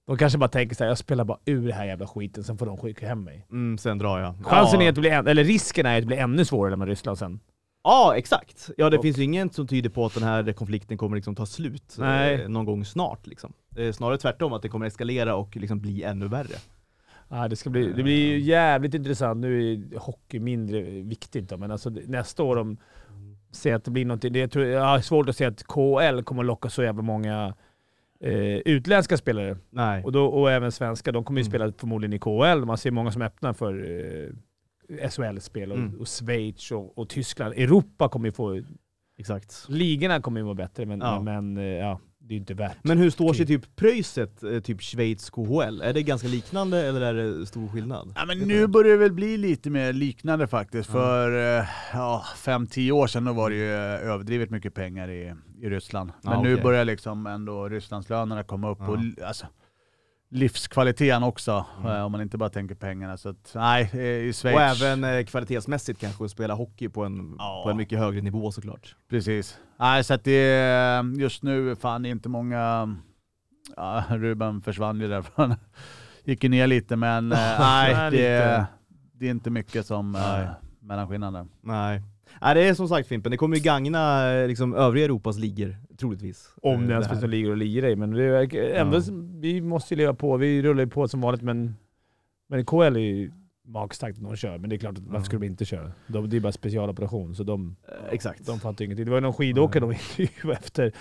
B: De kanske bara tänker såhär, jag spelar bara ur den här jävla skiten, sen får de skicka hem mig.
A: Mm, sen drar jag.
B: Chansen
A: ja.
B: är att det blir, än- eller risken är att det blir ännu svårare med Ryssland sen.
A: Ja, exakt. Ja, det
B: Och-
A: finns ju inget som tyder på att den här konflikten kommer liksom ta slut eh,
B: Nej.
A: någon gång snart. Liksom. Det är snarare tvärtom, att det kommer eskalera och liksom bli ännu värre.
B: Ja, Ah, det, ska bli, det blir ju jävligt intressant. Nu är hockey mindre viktigt då, men alltså, det- nästa år om ser att det blir någonting. Det, jag, tror, jag har svårt att se att KHL kommer att locka så jävla många eh, utländska spelare.
A: Nej.
B: Och, då, och även svenska. De kommer ju
A: Mm.
B: spela förmodligen i KHL. Man ser många som öppnar för eh, SHL-spel och,
A: Mm.
B: och Schweiz och, och Tyskland. Europa kommer ju få...
A: Exakt.
B: Ligorna kommer ju vara bättre, men,
A: Ja.
B: men eh, ja, det är ju inte värt.
A: Men hur står sig typ pröjset, eh, typ Schweiz KHL? Är det ganska liknande eller är det stor skillnad?
C: Ja, men
A: Vet
C: nu
A: du?
C: börjar det väl bli lite mer liknande faktiskt.
A: Ja.
C: För eh, ja, 5-10 år sedan då var det ju eh, överdrivet mycket pengar i, i Ryssland.
A: Ja,
C: Men nu
A: okej.
C: börjar liksom ändå Rysslandslönerna komma upp
A: Ja.
C: och li- alltså, livskvaliteten också.
A: Mm.
C: eh, Om man inte bara tänker pengarna. Så att, nej, eh, i Schweiz.
A: Och även eh, kvalitetsmässigt kanske, att spela hockey på en,
C: Ja.
A: på en mycket högre nivå såklart.
C: Precis. Nej, så att det är, just nu fan det är inte många... Ja, Ruben försvann ju därifrån. Gick ju ner lite men eh, nej,
B: Nej,
C: det,
B: lite.
C: det är inte mycket som
A: Nej.
C: eh, mellanskillnaden.
A: Nej. Nej, det är som sagt Fimpen, det kommer ju gagna eh, liksom, övriga Europas ligor, troligtvis. Eh,
B: Om det ens
A: här.
B: finns några ligor att lira i, men det är, ändå, vi måste ju leva på. Vi rullar ju på som vanligt, men, men KL är ju magstarkt när de kör. Men det är klart, att varför skulle de inte köra? De, det är bara specialoperation, så de,
A: Eh, Exakt.
B: de fattar ju ingenting. Det var ju någon skidåkare
A: Mm.
B: de intervjuade efter.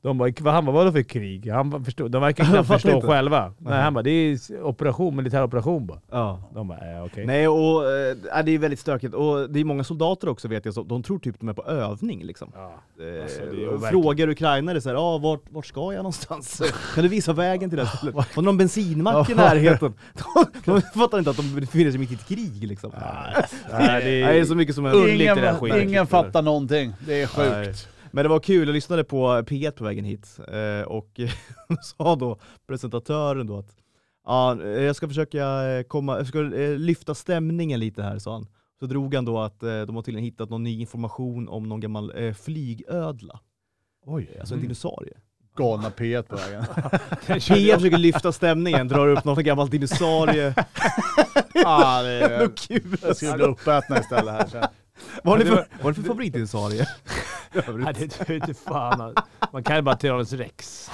B: De bara, vad han bara, vadå för krig? Han bara förstod, de verkar
A: De
B: knappt
A: fattar
B: förstå
A: inte.
B: själva. Nej,
A: Nej.
B: han bara, det är operation, militär operation bara.
A: Ja.
B: De bara, äh, okej.
A: Nej, och eh, ja, det är väldigt stökigt. Och det är många soldater också vet jag, som de tror typ de är på övning liksom.
B: Ja.
A: Eh,
B: Alltså, det är ju overkligt.
A: frågar ukrainare såhär, ah, vart, vart ska jag någonstans? kan du visa vägen till det här stället? Har någon bensinmack i närheten? De, de fattar inte att de befinner sig mitt i ett krig liksom.
B: Nej, det
A: det,
B: är-
A: är, så mycket som är underligt i
C: Ingen,
A: den här skiten.
C: ingen fattar någonting. Det är sjukt.
A: Nej. Men det var kul, jag lyssnade på P1 på vägen hit eh, och sa då presentatören då att ja, eh, jag ska försöka eh, komma, jag ska eh, lyfta stämningen lite här sa han. Så drog han då att eh, de har tydligen hittat någon ny information om någon gammal eh, flygödla,
C: Oj.
A: alltså en dinosaurie.
C: Galna P1 på vägen.
A: P1 försöker lyfta stämningen, drar upp någon gammal dinosaurie.
C: ah, det är,
A: Vad kul!
C: jag skulle bli uppätna istället här sen.
A: Vad har ni för, vad har ni för favoritdinosaurie?
B: Nej, det är inte fan. alltså. Man kan ju bara Tyrannosaurus rex.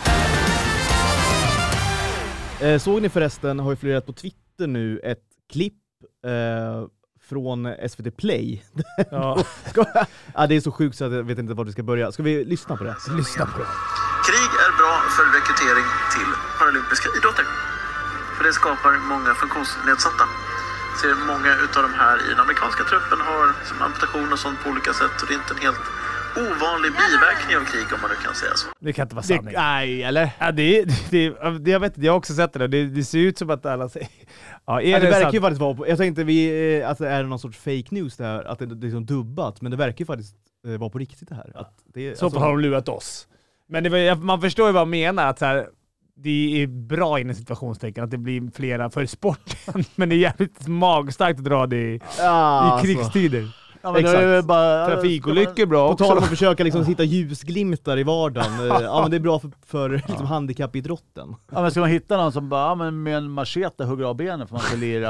A: Eh, såg ni förresten, har ju florerat på Twitter nu, ett klipp eh, från SVT Play.
B: Ja.
A: ah, det är så sjukt så att jag vet inte var vi ska börja. Ska vi lyssna på det?
B: Lyssna på det.
E: Krig är bra för rekrytering till paralympiska idrotter. För det skapar många funktionsnedsatta. Ser många utav de här i den amerikanska truppen har som amputation och sånt på olika sätt. Och det är inte en helt ovanlig biverkning av krig om man nu kan säga så.
B: Det kan inte vara
C: Det,
B: sanning.
C: nej, eller?
B: Ja, det, det, det, jag vet inte, jag har också sett det där. Det, det ser ut som att alla säger... Ja, är
A: Ja, det
B: det,
A: verkar
B: sant?
A: ju faktiskt vara på, jag tänkte vi, eh, att det är någon sorts fake news det här, att det, det är liksom dubbat, men det verkar ju faktiskt eh, var på riktigt det här. Att det, alltså-
B: Så har de lurat oss. Men det var, man förstår ju vad de menar. Att så här, det är bra inom situationstecken att det blir flera för sporten, men det är jävligt magstarkt att dra det i,
A: ja, alltså-
B: i krigstider.
C: Ja, men då är det väl bara,
B: Trafikolyckor är bra
A: På tal om
B: också.
A: att försöka liksom hitta ljusglimtar i vardagen. eh, ja men det är bra för, för liksom, handikappidrotten.
C: Ja, men ska man hitta någon som bara, ja, men med en machete hugger av benen för man ska lira...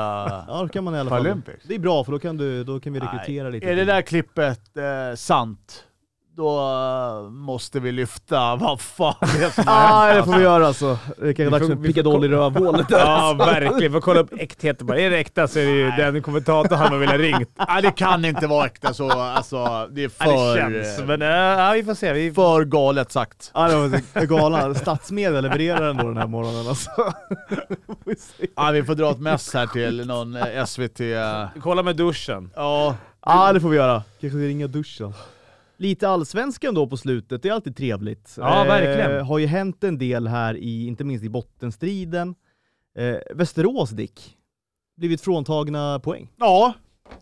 A: Ja, då kan man i alla fall.
C: Paralympics.
A: Det är bra för då kan, du, då kan vi rekrytera
C: Nej.
A: lite.
C: Är det
A: till-
C: där klippet eh, sant, då eh, måste vi lyfta vad fan det är som har
A: Ja,
C: hänt.
A: det får vi göra alltså. Det kanske är dags för en
B: vi får
A: pickadoll i rövhålet.
B: Ja, verkligen. Får kolla upp äktheten bara. Är det äkta så är det ju den kommentator han vill ha ringt.
C: Nej, det kan inte vara äkta så. Alltså, det är för,
B: Ja, det känns,
C: eh,
B: men eh, ja, vi får se. Vi
C: för galet sagt.
A: Ja, det var så- galan. Statsmedia levererar ändå den här morgonen alltså. Får vi se.
C: Ja, vi får dra ett mess här till någon eh, SVT. eh,
B: Kolla med duschen.
C: Ja,
A: Ja, det får vi göra. Kanske vi ringa duschen. Lite allsvenskan då på slutet, det är alltid trevligt. Eh,
B: Ja, verkligen.
A: har ju hänt en del här, i, inte minst i bottenstriden. Eh, Västerås, Dick. Blivit fråntagna poäng.
C: ja.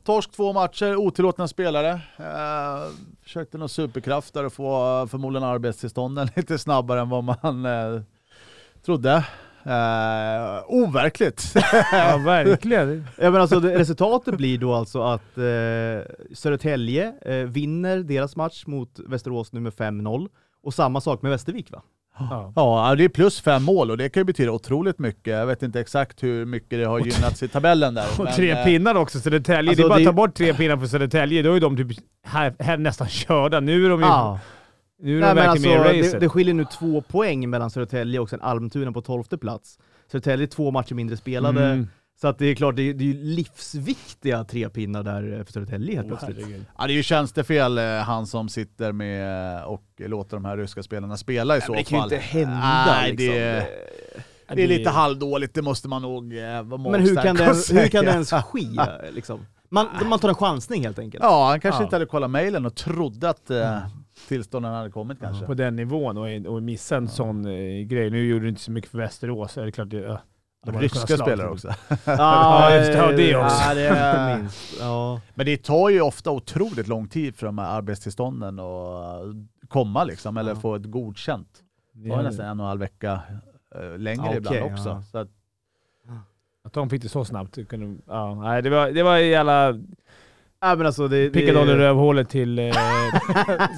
C: Torsk två matcher, otillåtna spelare. Eh, försökte någon superkraft där och få eh, förmodligen arbetstillstånden lite snabbare än vad man eh, trodde. Eh, overkligt!
B: Ja, verkligen.
A: Ja, men alltså, det- resultatet blir då alltså att eh, Södertälje eh, vinner deras match mot Västerås nu med 5-0. Och samma sak med Västervik va?
B: Ja.
C: Ja, det är plus fem mål och det kan ju betyda otroligt mycket. Jag vet inte exakt hur mycket det har gynnats i tabellen där.
B: Och
C: men,
B: tre
C: eh,
B: pinnar också, Södertälje. det
A: Alltså,
B: är bara
A: det-
B: att ta bort tre pinnar för Södertälje, då är de typ här, här nästan körda. Nu är de ju nu är de
A: Ah. Nej, men
B: verkligen
A: alltså,
B: med i racet.
A: det, det skiljer nu två poäng mellan Södertälje och sen Almtuna på tolfte plats. Södertälje är två matcher mindre spelade.
B: Mm.
A: Så att det är klart, det är, det är ju livsviktiga tre pinnar där eh, för Södertälje helt plötsligt.
C: Ja, det är ju tjänstefel eh, han som sitter med eh, och låter de här ryska spelarna spela i så
A: det kan ju
C: fall.
A: inte hända
C: Nej,
A: liksom.
C: det, det är lite halvdåligt. Det måste man nog eh, vara
A: Men hur
C: magstark
A: kan, det,
C: och
A: ens- hur kan det
C: säga.
A: ens ske? Liksom? Man, man tar en chansning helt enkelt.
C: Ja, han kanske
B: Ja.
C: inte hade kollat mejlen och trodde att eh, tillstånden hade kommit kanske.
B: På den nivån och, och missa en sån eh, grej. Nu gjorde det inte så mycket för Västerås. Är det klart det, ja. de hade kunnat slå
C: Ryska spelare
B: dem.
C: också.
B: Ja, just det. Ja, det också.
A: Ja, det, minst. Ja.
C: Men det tar ju ofta otroligt lång tid för de här arbetstillstånden att eh, komma liksom, eller få ett godkänt. Det var nästan en och en halv vecka eh, längre
A: Ja,
C: ibland
A: okej,
C: också.
A: ja.
C: Så att,
B: Att de fick det så snabbt. det Kunde, ja, nej, det var, det var en jävla
A: Ja, men alltså det, det,
B: pickadoll i rövhålet till eh,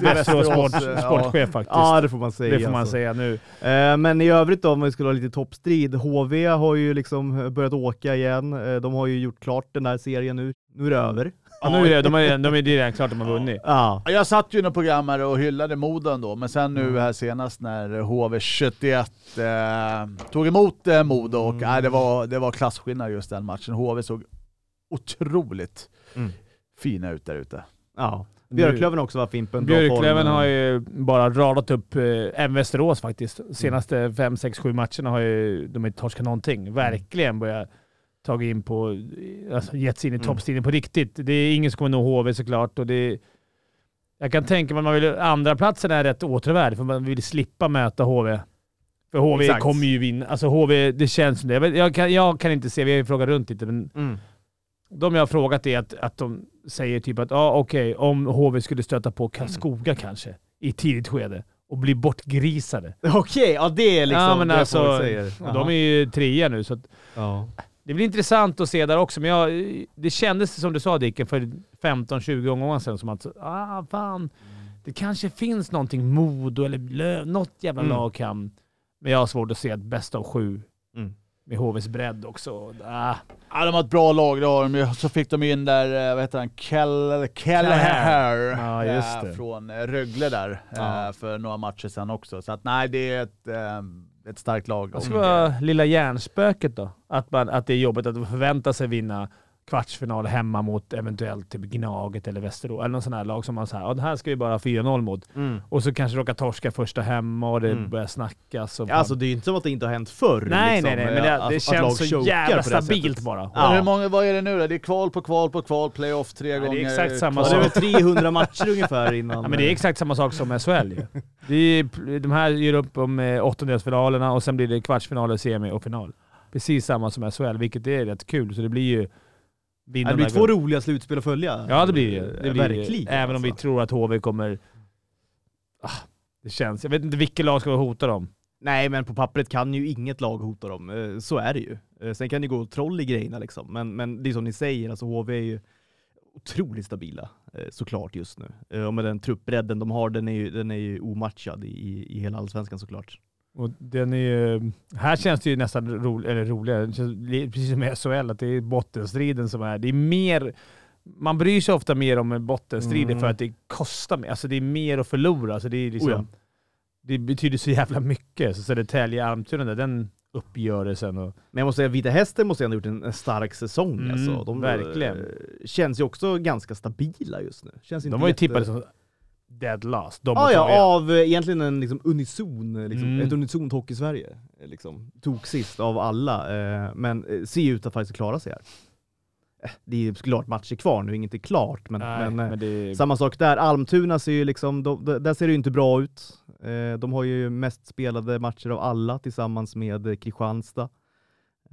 B: Västerås sport,
C: Västerås, eh,
B: sportchef faktiskt.
A: Ja, det får man säga.
B: det får man
A: alltså.
B: säga nu.
A: Eh, Men i övrigt då, om vi skulle ha lite toppstrid. HV har ju liksom börjat åka igen. Eh, De har ju gjort klart den där serien nu. Nu är det över.
B: Ja, nu är det, de, är, de är det är redan klart att de har vunnit.
A: Ja.
C: Ja, jag satt ju i något program här och hyllade Modo då, men sen
B: Mm.
C: nu här senast när HV71 eh, tog emot eh, Modo och
B: Mm.
C: nej, det, var, det var klasskillnad just den matchen. HV såg otroligt
A: Mm.
C: fina ut där ute.
A: ja. Björklöven också var Fimpen. Bra
B: Björklöven
A: form.
B: har ju bara radat upp, eh, även Västerås faktiskt.
A: Mm.
B: Senaste fem sex sju matcherna har ju de inte torskat
A: Mm.
B: någonting. Verkligen börjat tagit in på, alltså gett sig in i
A: Mm.
B: toppstriden på riktigt. Det är ingen som kommer nå HV såklart och det jag kan tänka mig att man vill, andra platsen är rätt återvärd för man vill slippa möta HV. För HV
A: Exakt.
B: kommer ju vinna. Alltså HV, det känns som det. Jag, vet- jag, kan, jag kan inte se, vi har ju frågat runt lite, men
A: Mm.
B: de jag har frågat är att, att de säger typ att ah, okej, om HV skulle stöta på
A: Mm.
B: Karlskoga kanske i tidigt skede och bli bortgrisade.
A: Okej, ja det är liksom
B: ja, men
A: det
B: alltså,
A: folk säger.
B: och de är ju trea nu, så att
A: ja.
B: det blir intressant att se där också. Men jag, det kändes som du sa Dicken för 15-20 omgångar sedan som att ah, fan, det kanske finns någonting Modo eller Löv, något jävla
A: Mm.
B: lag kan. Men jag har svårt att se att bäst av sju
A: Mm.
B: med HVs bredd också. Ah,
C: Ja, de har ett bra lag, det har de ju. Så fick de in där, eh, vad heter han, Kell, Kelleher
B: Ja,
C: eh,
B: just det.
C: från eh, Rögle där
A: Ja.
C: eh, för några matcher sedan också. Så att nej, det är ett, eh, ett starkt lag.
B: Vad
C: Och,
B: skulle
C: eh,
B: vara lilla hjärnspöket då? Att, man, att det är jobbigt att förvänta sig vinna kvartsfinal hemma mot eventuellt typ Gnaget eller Västerås, eller någon sån här lag som man säger, ja det här ska vi bara ha 4-0 mot.
A: Mm.
B: Och så kanske råkar torska första hemma och det
A: Mm.
B: börjar snackas. Och
A: Ja, Alltså det är ju inte som att det inte har hänt förr.
B: nej,
A: liksom,
B: nej, nej, men det,
A: att-
B: det
A: att lag
B: känns så
A: chokar på det
B: jävla
A: här
B: stabilt
A: sättet.
B: bara.
A: Ja.
C: Men hur många, vad är det nu då? Det är kval på kval på kval, playoff tre
B: det är
C: gånger.
B: exakt samma
A: Ja,
C: kval.
A: det är väl 300 matcher ungefär innan. eh,
B: Ja, men det är exakt samma sak som SHL ju. Det är, de här gör upp om eh, åttondelsfinalerna och sen blir det kvartsfinaler, semi och final. Precis samma som SHL, vilket är rätt kul. Så det blir ju vinna
A: Det blir
B: den här
A: två
B: gruppen.
A: roliga slutspel att följa.
B: Ja det blir det. det blir,
A: Verkligen.
B: Även om vi
A: alltså.
B: tror att HV kommer... Ah, det känns... Jag vet inte vilket lag ska hota dem.
A: Nej, men på pappret kan ju inget lag hota dem. Eh, Så är det ju. Eh, Sen kan det gå troll i grejerna liksom. Men, men det är som ni säger, alltså HV är ju otroligt stabila eh, såklart just nu. Eh, Och med den truppbredden de har, den är ju, den är ju omatchad i, i hela allsvenskan såklart.
B: Och den är ju, här känns det ju nästan ro, eller roligare, Det känns li- precis som i SHL, att det är bottenstriden som är. Det är mer, man bryr sig ofta mer om bottenstrider
A: Mm.
B: för att det kostar mer. Alltså det är mer att förlora. Alltså det, är liksom,
A: Oh ja.
B: det betyder så jävla mycket. Så Södertälje-Almtuna, där, den uppgörelsen. Och,
A: Men jag måste säga, Vita Hästen måste ändå ha gjort en, en stark säsong.
B: Mm,
A: alltså. De eh,
B: verkligen.
A: känns ju också ganska stabila just nu. Känns inte
B: de var ju
A: jätte-
B: tippade som dead last. De
A: Ja,
B: och Troja.
A: ja, av eh, egentligen en liksom, unison, eh, liksom,
B: Mm.
A: ett unisont hockey-Sverige. eh, Liksom, tog sist av alla, eh, men eh, ser ju ut att faktiskt klara sig här. Eh, det är ju såklart matcher kvar nu, inget är klart, men,
B: Nej,
A: men, eh,
B: men det,
A: samma sak där. Almtuna ser ju liksom, de, de, där ser det ju inte bra ut. Eh, de har ju mest spelade matcher av alla tillsammans med eh, Kristianstad.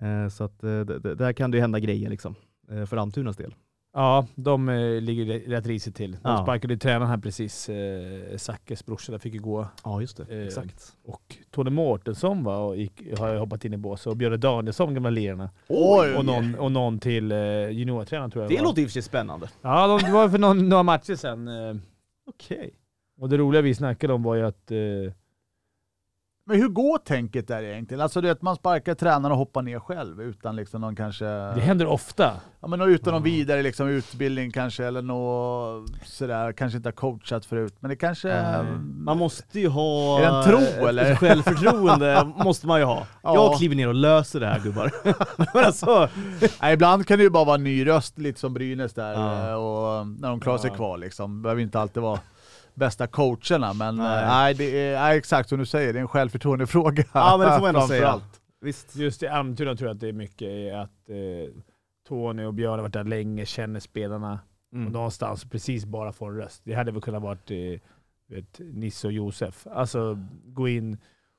A: Eh, så att eh, d- d- där kan det ju hända grejer liksom, eh, för Almtunas del.
B: Ja, de eh, ligger rätt- rätt risigt till. De
A: Ja.
B: sparkade ju tränaren här precis, eh, Zackes brorsa, där fick ju gå.
A: Ja, just det.
B: Eh,
A: Exakt.
B: Och Tony Mårtensson va, och gick, har ju hoppat in i båset. Och Björn Danielsson, gamla lirarna.
C: Oj!
B: Och någon, och någon till eh, juniortränaren tror jag
A: Mm. Det
B: var.
A: låter i och för sig spännande.
B: Ja, de, det var för någon, några matcher sen. Eh,
A: Okej.
B: och det roliga vi snackade om var ju att... Eh,
C: Men hur går tänket där egentligen? Alltså det att man sparkar tränaren och hoppar ner själv utan liksom någon kanske...
B: det händer ofta.
C: Ja, men utan någon vidare liksom, utbildning kanske eller något sådär, kanske inte har coachat förut. Men det kanske...
A: Nej.
B: Ehm,
A: Man måste ju ha...
C: Är det en tro,
A: ett-
C: eller?
A: Ett självförtroende måste man ju ha.
C: Ja.
A: Jag kliver ner och löser det här gubbar. Men alltså,
C: Nej, ibland kan det ju bara vara en ny röst, lite som Brynäs där,
A: Ja.
C: eh, och när de klarar sig
B: Ja.
C: kvar liksom. Behöver inte alltid vara bästa coacherna, men
A: Nej.
C: nej, nej det är nej, exakt som du säger, det är en självförtroendefråga.
A: ja men det får man ändå
C: framför
A: säga.
C: allt.
A: Visst.
B: Just i Almtuna tror jag att det är mycket är att eh, Tony och Björn har varit där länge, känner spelarna.
C: Mm.
A: Mm.
B: Och någonstans precis bara få en röst. Det hade väl kunnat varit eh, vet, Nisse och Josef. Alltså gå in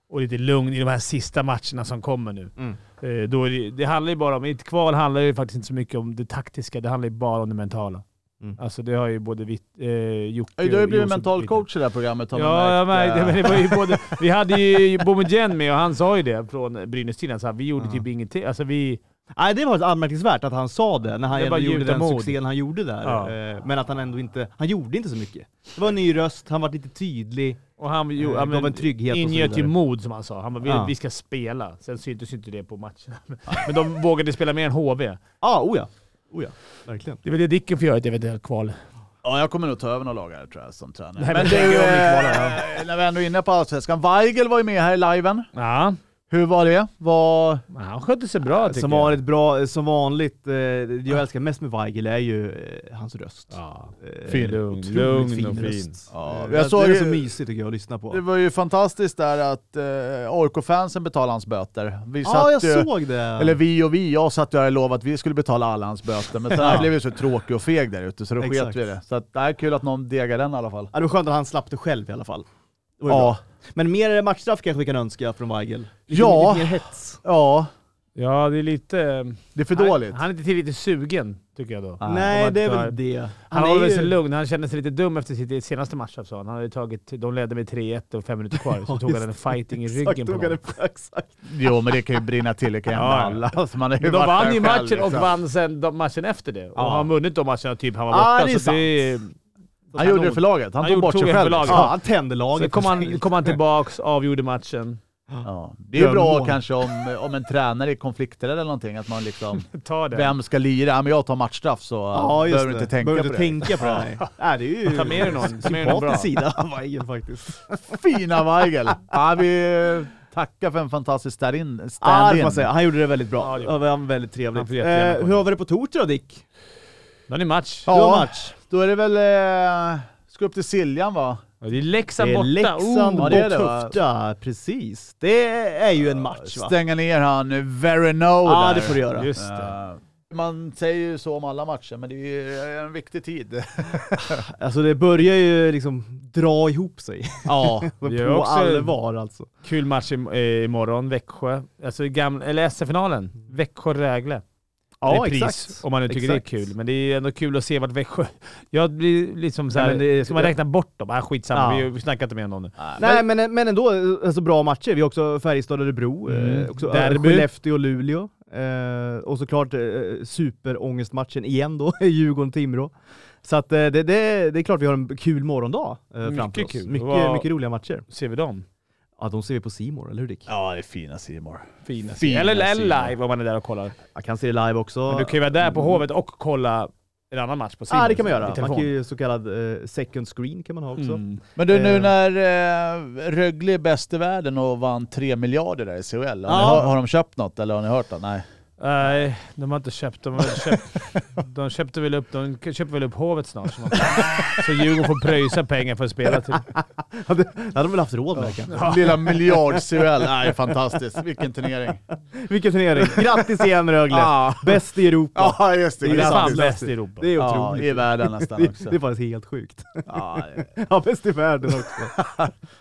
B: och lite lugn i de här sista matcherna som kommer nu.
A: Mm.
B: Eh, då är det, det handlar ju bara om, i ett kval handlar det ju faktiskt inte så mycket om det taktiska, det handlar ju bara om det mentala.
A: Mm.
B: Alltså det har ju både Vitt, eh, Jocke
C: Oj, Du har ju
B: och
C: blivit
B: Josef
C: mental
B: vittnat.
C: coach i det här programmet har man
B: Ja, jag
C: märkt,
B: märkte
C: eh.
B: men det. Var ju både, vi hade ju Boumedienne med och han sa ju det från Brynäs-tiden. så här, Vi gjorde
A: Ja.
B: typ ingenting. Alltså vi...
A: Nej, det var faktiskt anmärkningsvärt att han sa det när han
B: Det är
A: ändå
B: bara
A: gjorde
B: gjuta
A: den
B: mod.
A: succén han gjorde där.
B: Ja.
A: Eh, Men att han ändå inte, han gjorde inte så mycket. Det var en ny röst, han var lite tydlig.
B: Och han ju,
A: Eh,
B: ja, men
A: gav en trygghet och så
B: ingöt ju
A: vidare.
B: mod som han sa. Han bara, vi,
A: Ja.
B: vi ska spela. Sen syntes ju inte det på matchen. Men de vågade spela mer än HV.
A: Ja, ah, oja. Oja, verkligen.
B: Det är väl det Dicken får göra i ett eventuellt kval.
C: Ja, jag kommer nog ta över några lag här tror jag som tränare.
B: Nej, men tänk om ni kvalar,
C: eh, när vi ändå är inne på Allsvenskan. Weigel var ju med här i liven.
B: Ja,
C: Hur var det? Var...
B: men han skötte sig bra tycker
A: Som
B: jag.
A: vanligt bra, eh, som vanligt. eh, Det jag älskar mest med Weigel är ju eh, hans röst.
B: Ja.
A: Eh,
B: Fin. Lugn,
A: otroligt
B: lugn och fin.
A: röst.
C: Ja,
A: Eh,
C: jag
A: det-
C: såg
A: det är
C: ju-
A: så mysigt tycker jag att lyssna på.
C: Det var ju fantastiskt där att eh, AIK-fansen betalade hans böter. Vi
A: Ja, jag
C: ju,
A: såg det.
C: Eller vi och vi, jag satt ju här och lovade att vi skulle betala alla hans böter, men sen här blev ju så tråkig och feg där ute så då
A: Exakt.
C: sket vi i det. Så att, det här är kul att någon degar den i alla fall.
A: Ja, det var skönt att han slapp det själv i alla fall. Det var ju bra.
C: Ja,
A: Men mer matchstraff kanske vi kan önska från Weigel. Lite,
C: Ja.
A: lite mer hets.
C: ja,
B: Ja, det är lite... eh,
C: det är för dåligt.
B: Han, han är inte tillräckligt sugen, tycker jag då.
C: Ja,
A: Nej,
B: han
A: det är
B: var-
A: väl det.
B: Han,
A: är
B: håller
A: ju-
B: sig lugn. Han kände sig lite dum efter sitt senaste matchup sa han. han hade tagit, de ledde med 3-1 och fem minuter kvar, så
A: Ja,
B: tog han
A: just
B: en
A: det.
B: fighting i
A: Exakt,
B: ryggen på
A: tog han
B: honom.
A: det- Exakt.
C: Jo, men det kan ju brinna till, det kan hända
B: Ja, ja.
C: alla. Alltså, man har ju
B: Men de
C: varit
B: vann
C: där
B: ju
C: själv,
B: matchen och
C: liksom.
B: vann sen de matchen efter det. Och
A: Ja.
B: har han vunnit de matcherna typ han var
A: Ja,
B: borta.
A: det är
B: så det,
C: Han gjorde det för laget, han,
B: Han
C: tog bort
B: tog
C: sig
B: en för
C: själv.
B: laget.
A: Ja, han tände
B: sen
A: laget.
B: kom han, kom han tillbaks, avgjorde matchen.
C: Ja. Det är ju bra
A: Drömmål.
C: kanske om, om en tränare är konflikträdd eller någonting, att man liksom,
B: Ta det.
C: vem ska lira? Ja, men jag tar matchstraff så
A: Ja, just
C: behöver
A: det.
C: du inte tänka
A: Behöver
C: på det.
A: inte tänka på det. Nej. Nej, det är ju
B: Ta med dig någon. Ta med dig någon bra.
A: sympatisk sida av Weigel faktiskt.
C: Fina Weigel! Ja, vi tackar för en fantastisk stand-in.
A: Ja, det
C: Stand
A: får man säga. Han gjorde det väldigt bra.
B: Ja, det
A: det
B: gjorde
A: var han väldigt
B: Han
A: trevligt.
B: får
A: Eh,
B: jättegärna komma.
A: hur har vi det på torsdag då, Dick?
B: Då är det match.
A: Du har
C: Ja,
A: match.
C: då är det väl... Eh, ska upp till Siljan va?
B: Och Det är Leksand
A: det är
B: borta.
A: Leksand
C: ja,
B: oh,
A: borta.
C: det är det, va?
A: Precis. Det är ju en match va?
C: Stänga ner han Verino
A: Ja,
C: där.
A: det får du göra.
B: Just det.
C: Eh, man säger ju så om alla matcher, men det är ju en viktig tid.
A: Alltså det börjar ju liksom dra ihop sig.
C: Ja.
B: Det är
A: på
B: också-
A: allvar alltså.
B: Kul match im- eh, imorgon. Växjö. Alltså gamla, eller SF-finalen. Växjö-Rögle.
A: Ja,
B: repris,
A: exakt.
B: Om man nu tycker
A: Exakt.
B: det är kul. Men det är ju ändå kul att se vart Växjö... Jag blir liksom
A: Ja,
B: såhär,
A: men det-
B: ska man räkna bort dem? Äh, skitsamma,
A: Ja.
B: vi- vi snackar inte mer om det.
A: Nej, men, men ändå eh, alltså, bra matcher. Vi har också Färjestad och Örebro,
B: Mm.
A: eh, också
B: Derby.
A: eh, Skellefteå och Luleå. Eh, och såklart eh, superångestmatchen igen då, Djurgården-Timrå. Så att, eh, det, det, det är klart vi har en kul morgondag eh, framför
B: Mycket
A: oss.
B: kul.
A: Mycket,
B: Vad-
A: mycket roliga matcher.
B: Ser vi dem?
A: Ja, de ser vi på Simor eller hur Dick?
C: Ja, det är fina Simor.
B: Fina.
C: Fina
B: eller eller
C: sidor.
B: live om man är där och kollar.
A: Jag kan se det live också.
B: Men du kan ju vara där på Hovet och kolla en annan match på
A: Ja,
B: Simons
A: ah, det kan man
B: i
A: göra. Man
B: telefon.
A: kan ju så kallad eh, second screen kan man ha också.
B: Mm.
C: Men du, nu
A: Eh.
C: när eh, Rögle är bäst i världen och vann 3 miljarder där i CHL, har, ni,
B: Ja.
C: har, har de köpt något eller har ni hört det? Nej.
B: Nej, de har inte köpt. De, har väl köpt, de köpte väl upp, de köper väl upp Hovet snart. Så, man, så Djurgården får pröjsa pengar för att spela till.
A: Hade, hade de väl haft råd med det kanske.
C: Lilla miljard-CHL. Nej, fantastiskt. Vilken turnering.
A: Vilken turnering! Grattis igen Rögle!
C: Ja,
A: Bäst i Europa!
C: ja just det.
B: Det är fan
A: fantastiskt.
B: bäst i Europa.
A: Det är
C: Ja,
A: otroligt.
C: i världen nästan
A: det,
C: också.
A: det är faktiskt helt sjukt.
C: Ja, det-
A: Ja, bäst i världen också.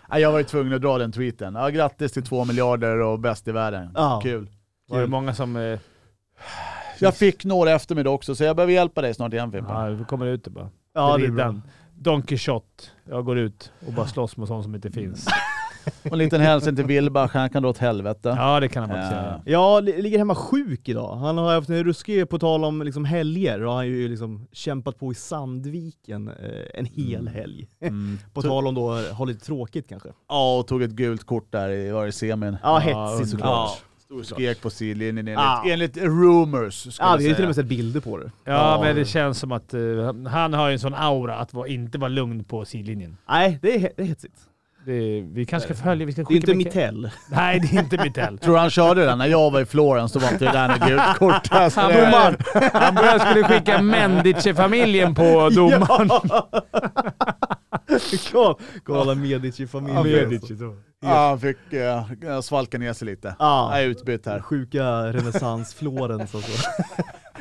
C: Ja, jag var ju tvungen att dra den tweeten. Ja, grattis till två miljarder och bäst i världen.
A: Ja.
C: Kul.
B: Var det många som... eh,
C: Jag fick några efter mig då också, så jag behöver hjälpa dig snart igen Fimpen.
B: Ja, vi kommer ut det bara.
A: Ja, det är bra.
B: Riddaren. Don Quijote. Jag går ut och bara slåss mot sånt som inte finns.
C: Och en liten hälsning till Wilbach, han kan dra åt helvete.
B: Ja, det kan han faktiskt
C: Ja.
B: göra.
A: Ja, li- ligger hemma sjuk idag. Han har haft en ruskig, på tal om liksom helger, och han har ju liksom kämpat på i Sandviken eh, en hel helg.
C: Mm.
A: På tal om då eh, ha lite tråkigt kanske.
C: Ja, och tog ett gult kort där i, var i semin.
A: Ja,
B: underbart.
A: hetsig såklart.
C: Stod och skrek på sidlinjen enligt,
A: Ja.
C: enligt rumors. ska
A: Ja,
C: jag
A: vi har ju till
C: säga.
A: och med sett bilder på det.
B: Ja,
C: Ja.
B: men det känns som att eh, han har ju en sån aura att vara, inte vara lugn på sidlinjen.
A: Nej, det är, he- det är hetsigt.
B: Det, vi kanske ska följa... Vi ska
A: Det är
B: skicka
A: inte
B: mycket-
A: Mitell.
B: Nej, det är inte Mitell.
C: Tror du han körde den? När jag var i Florens så var inte det där något gult kort. Alltså,
B: Han
C: det-
B: började, han började skulle skicka Mendice-familjen på domaren.
A: Ja. Kolla Medici-familjen.
C: Ja,
A: Medici,
B: då.
C: Ja, han fick eh, svalka ner sig lite.
A: Ja.
C: Jag är utbytt här.
A: Sjuka renässans Florens alltså.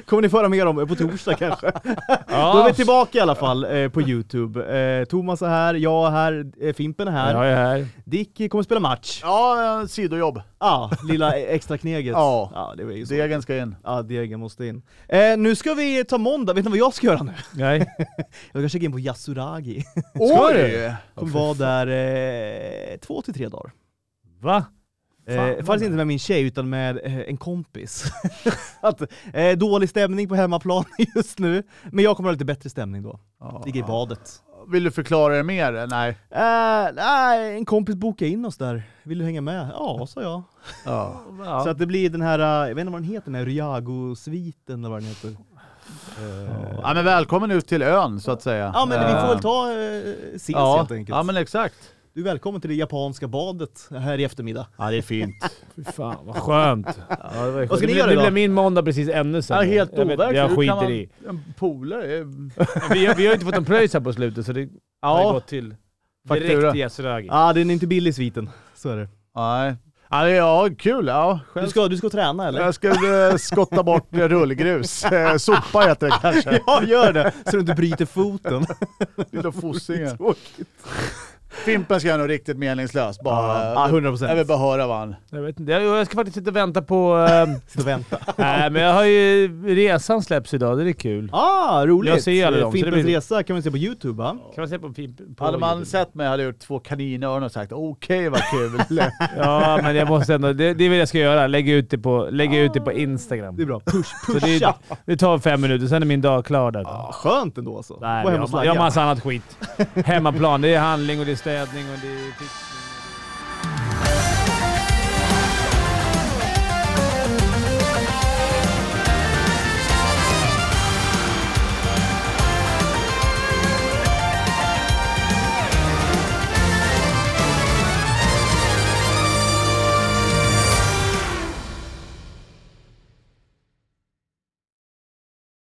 A: Kommer ni föra mer om eh, på torsdag kanske? Då är
B: Ja,
A: vi tillbaka i alla fall eh, på Youtube. Eh, Thomas är här, jag är här, eh, Fimpen är här.
B: jag är här.
A: Dick kommer spela match. Ja,
C: Ja, eh, sidojobb.
A: lilla e- extra kneget.
C: Ja.
A: ja, det var ju så.
C: Degen ska in.
A: Ja, degen måste in. Eh, nu ska vi ta måndag, vet ni vad jag ska göra nu?
B: Nej.
A: Jag ska checka in på Yasuragi.
C: Oj!
A: Kommer vara där eh, två till tre dagar.
B: Va?
A: Eh, faktiskt inte med min tjej utan med eh, en kompis. att, eh, dålig stämning på hemmaplan just nu, men jag kommer ha lite bättre stämning då. Ligga i badet.
C: Vill du förklara det mer? Nej.
A: Eh, nej, en kompis bokade in oss där. Vill du hänga med? Ja, sa jag.
C: Ja.
B: Ja.
A: Så att det blir den här, eh, jag vet inte vad den heter, den här Ryago-sviten eller vad den heter.
C: ja, men välkommen ut till ön så att säga.
A: Ja men vi
C: Eh,
A: får väl ta eh, ses
C: ja.
A: helt enkelt.
C: Ja men exakt.
A: Du är välkommen till det japanska badet här i eftermiddag.
C: Ja det är fint.
B: Fy fan vad skönt. Ja, det var ju skönt.
A: Vad ska ni
B: Det
A: göra
B: blir- Det
A: idag?
B: blir min måndag precis ännu
C: Ja,
B: sämre.
C: helt
B: Jag vet-
C: overkligt.
B: Jag
C: Hur kan
B: skiter
C: man-
B: i.
C: En polare är...
B: Vi, har- vi har ju inte fått en pröjs här på slutet så det har ju
C: Ja.
B: gått till
C: Faktura.
B: direkt till Yasuragi.
A: Ja ah, den är inte billig sviten. Så är det.
C: Nej. Ja, det är- ja kul. Ja,
A: Du
C: själv.
A: ska, du ska träna eller?
C: Jag ska eh, skotta bort eh, rullgrus. Eh, Sopa heter det kanske.
A: Ja gör det! Så du inte bryter foten.
C: Lilla fossingen. Fimpen ska göra något riktigt meningslöst. Bara,
A: Ja, 100
C: Jag vill
A: procent.
C: bara höra vad han...
B: Jag, vet inte. Jag, jag ska faktiskt sitta och vänta på... eh,
A: Sitta och vänta.
B: Nej, men jag har ju... Resan släpps idag, det är kul.
A: Ah, roligt!
B: Jag ser ju alla
A: Eh,
B: dem, så det
A: Fimpens
B: blir-
A: Resa kan man se på Youtube va?
B: Kan man se på... film- på
C: Hade man
B: YouTube?
C: sett mig hade jag gjort två kaninöron och sagt okej vad kul.
B: Ja, men jag måste ändå... Det, det är vad jag ska göra. Lägga ut det på, lägga ut det på Instagram.
A: Det är bra. Push,
B: Så det,
A: pusha!
B: det tar fem minuter, sen är min dag klar där.
A: Ah, skönt ändå alltså.
B: Nej,
A: Gå
B: jag
A: hem och
B: har jag har
A: slagga.
B: massa annat skit. Hemmaplan, det är handling och det är städning och det är...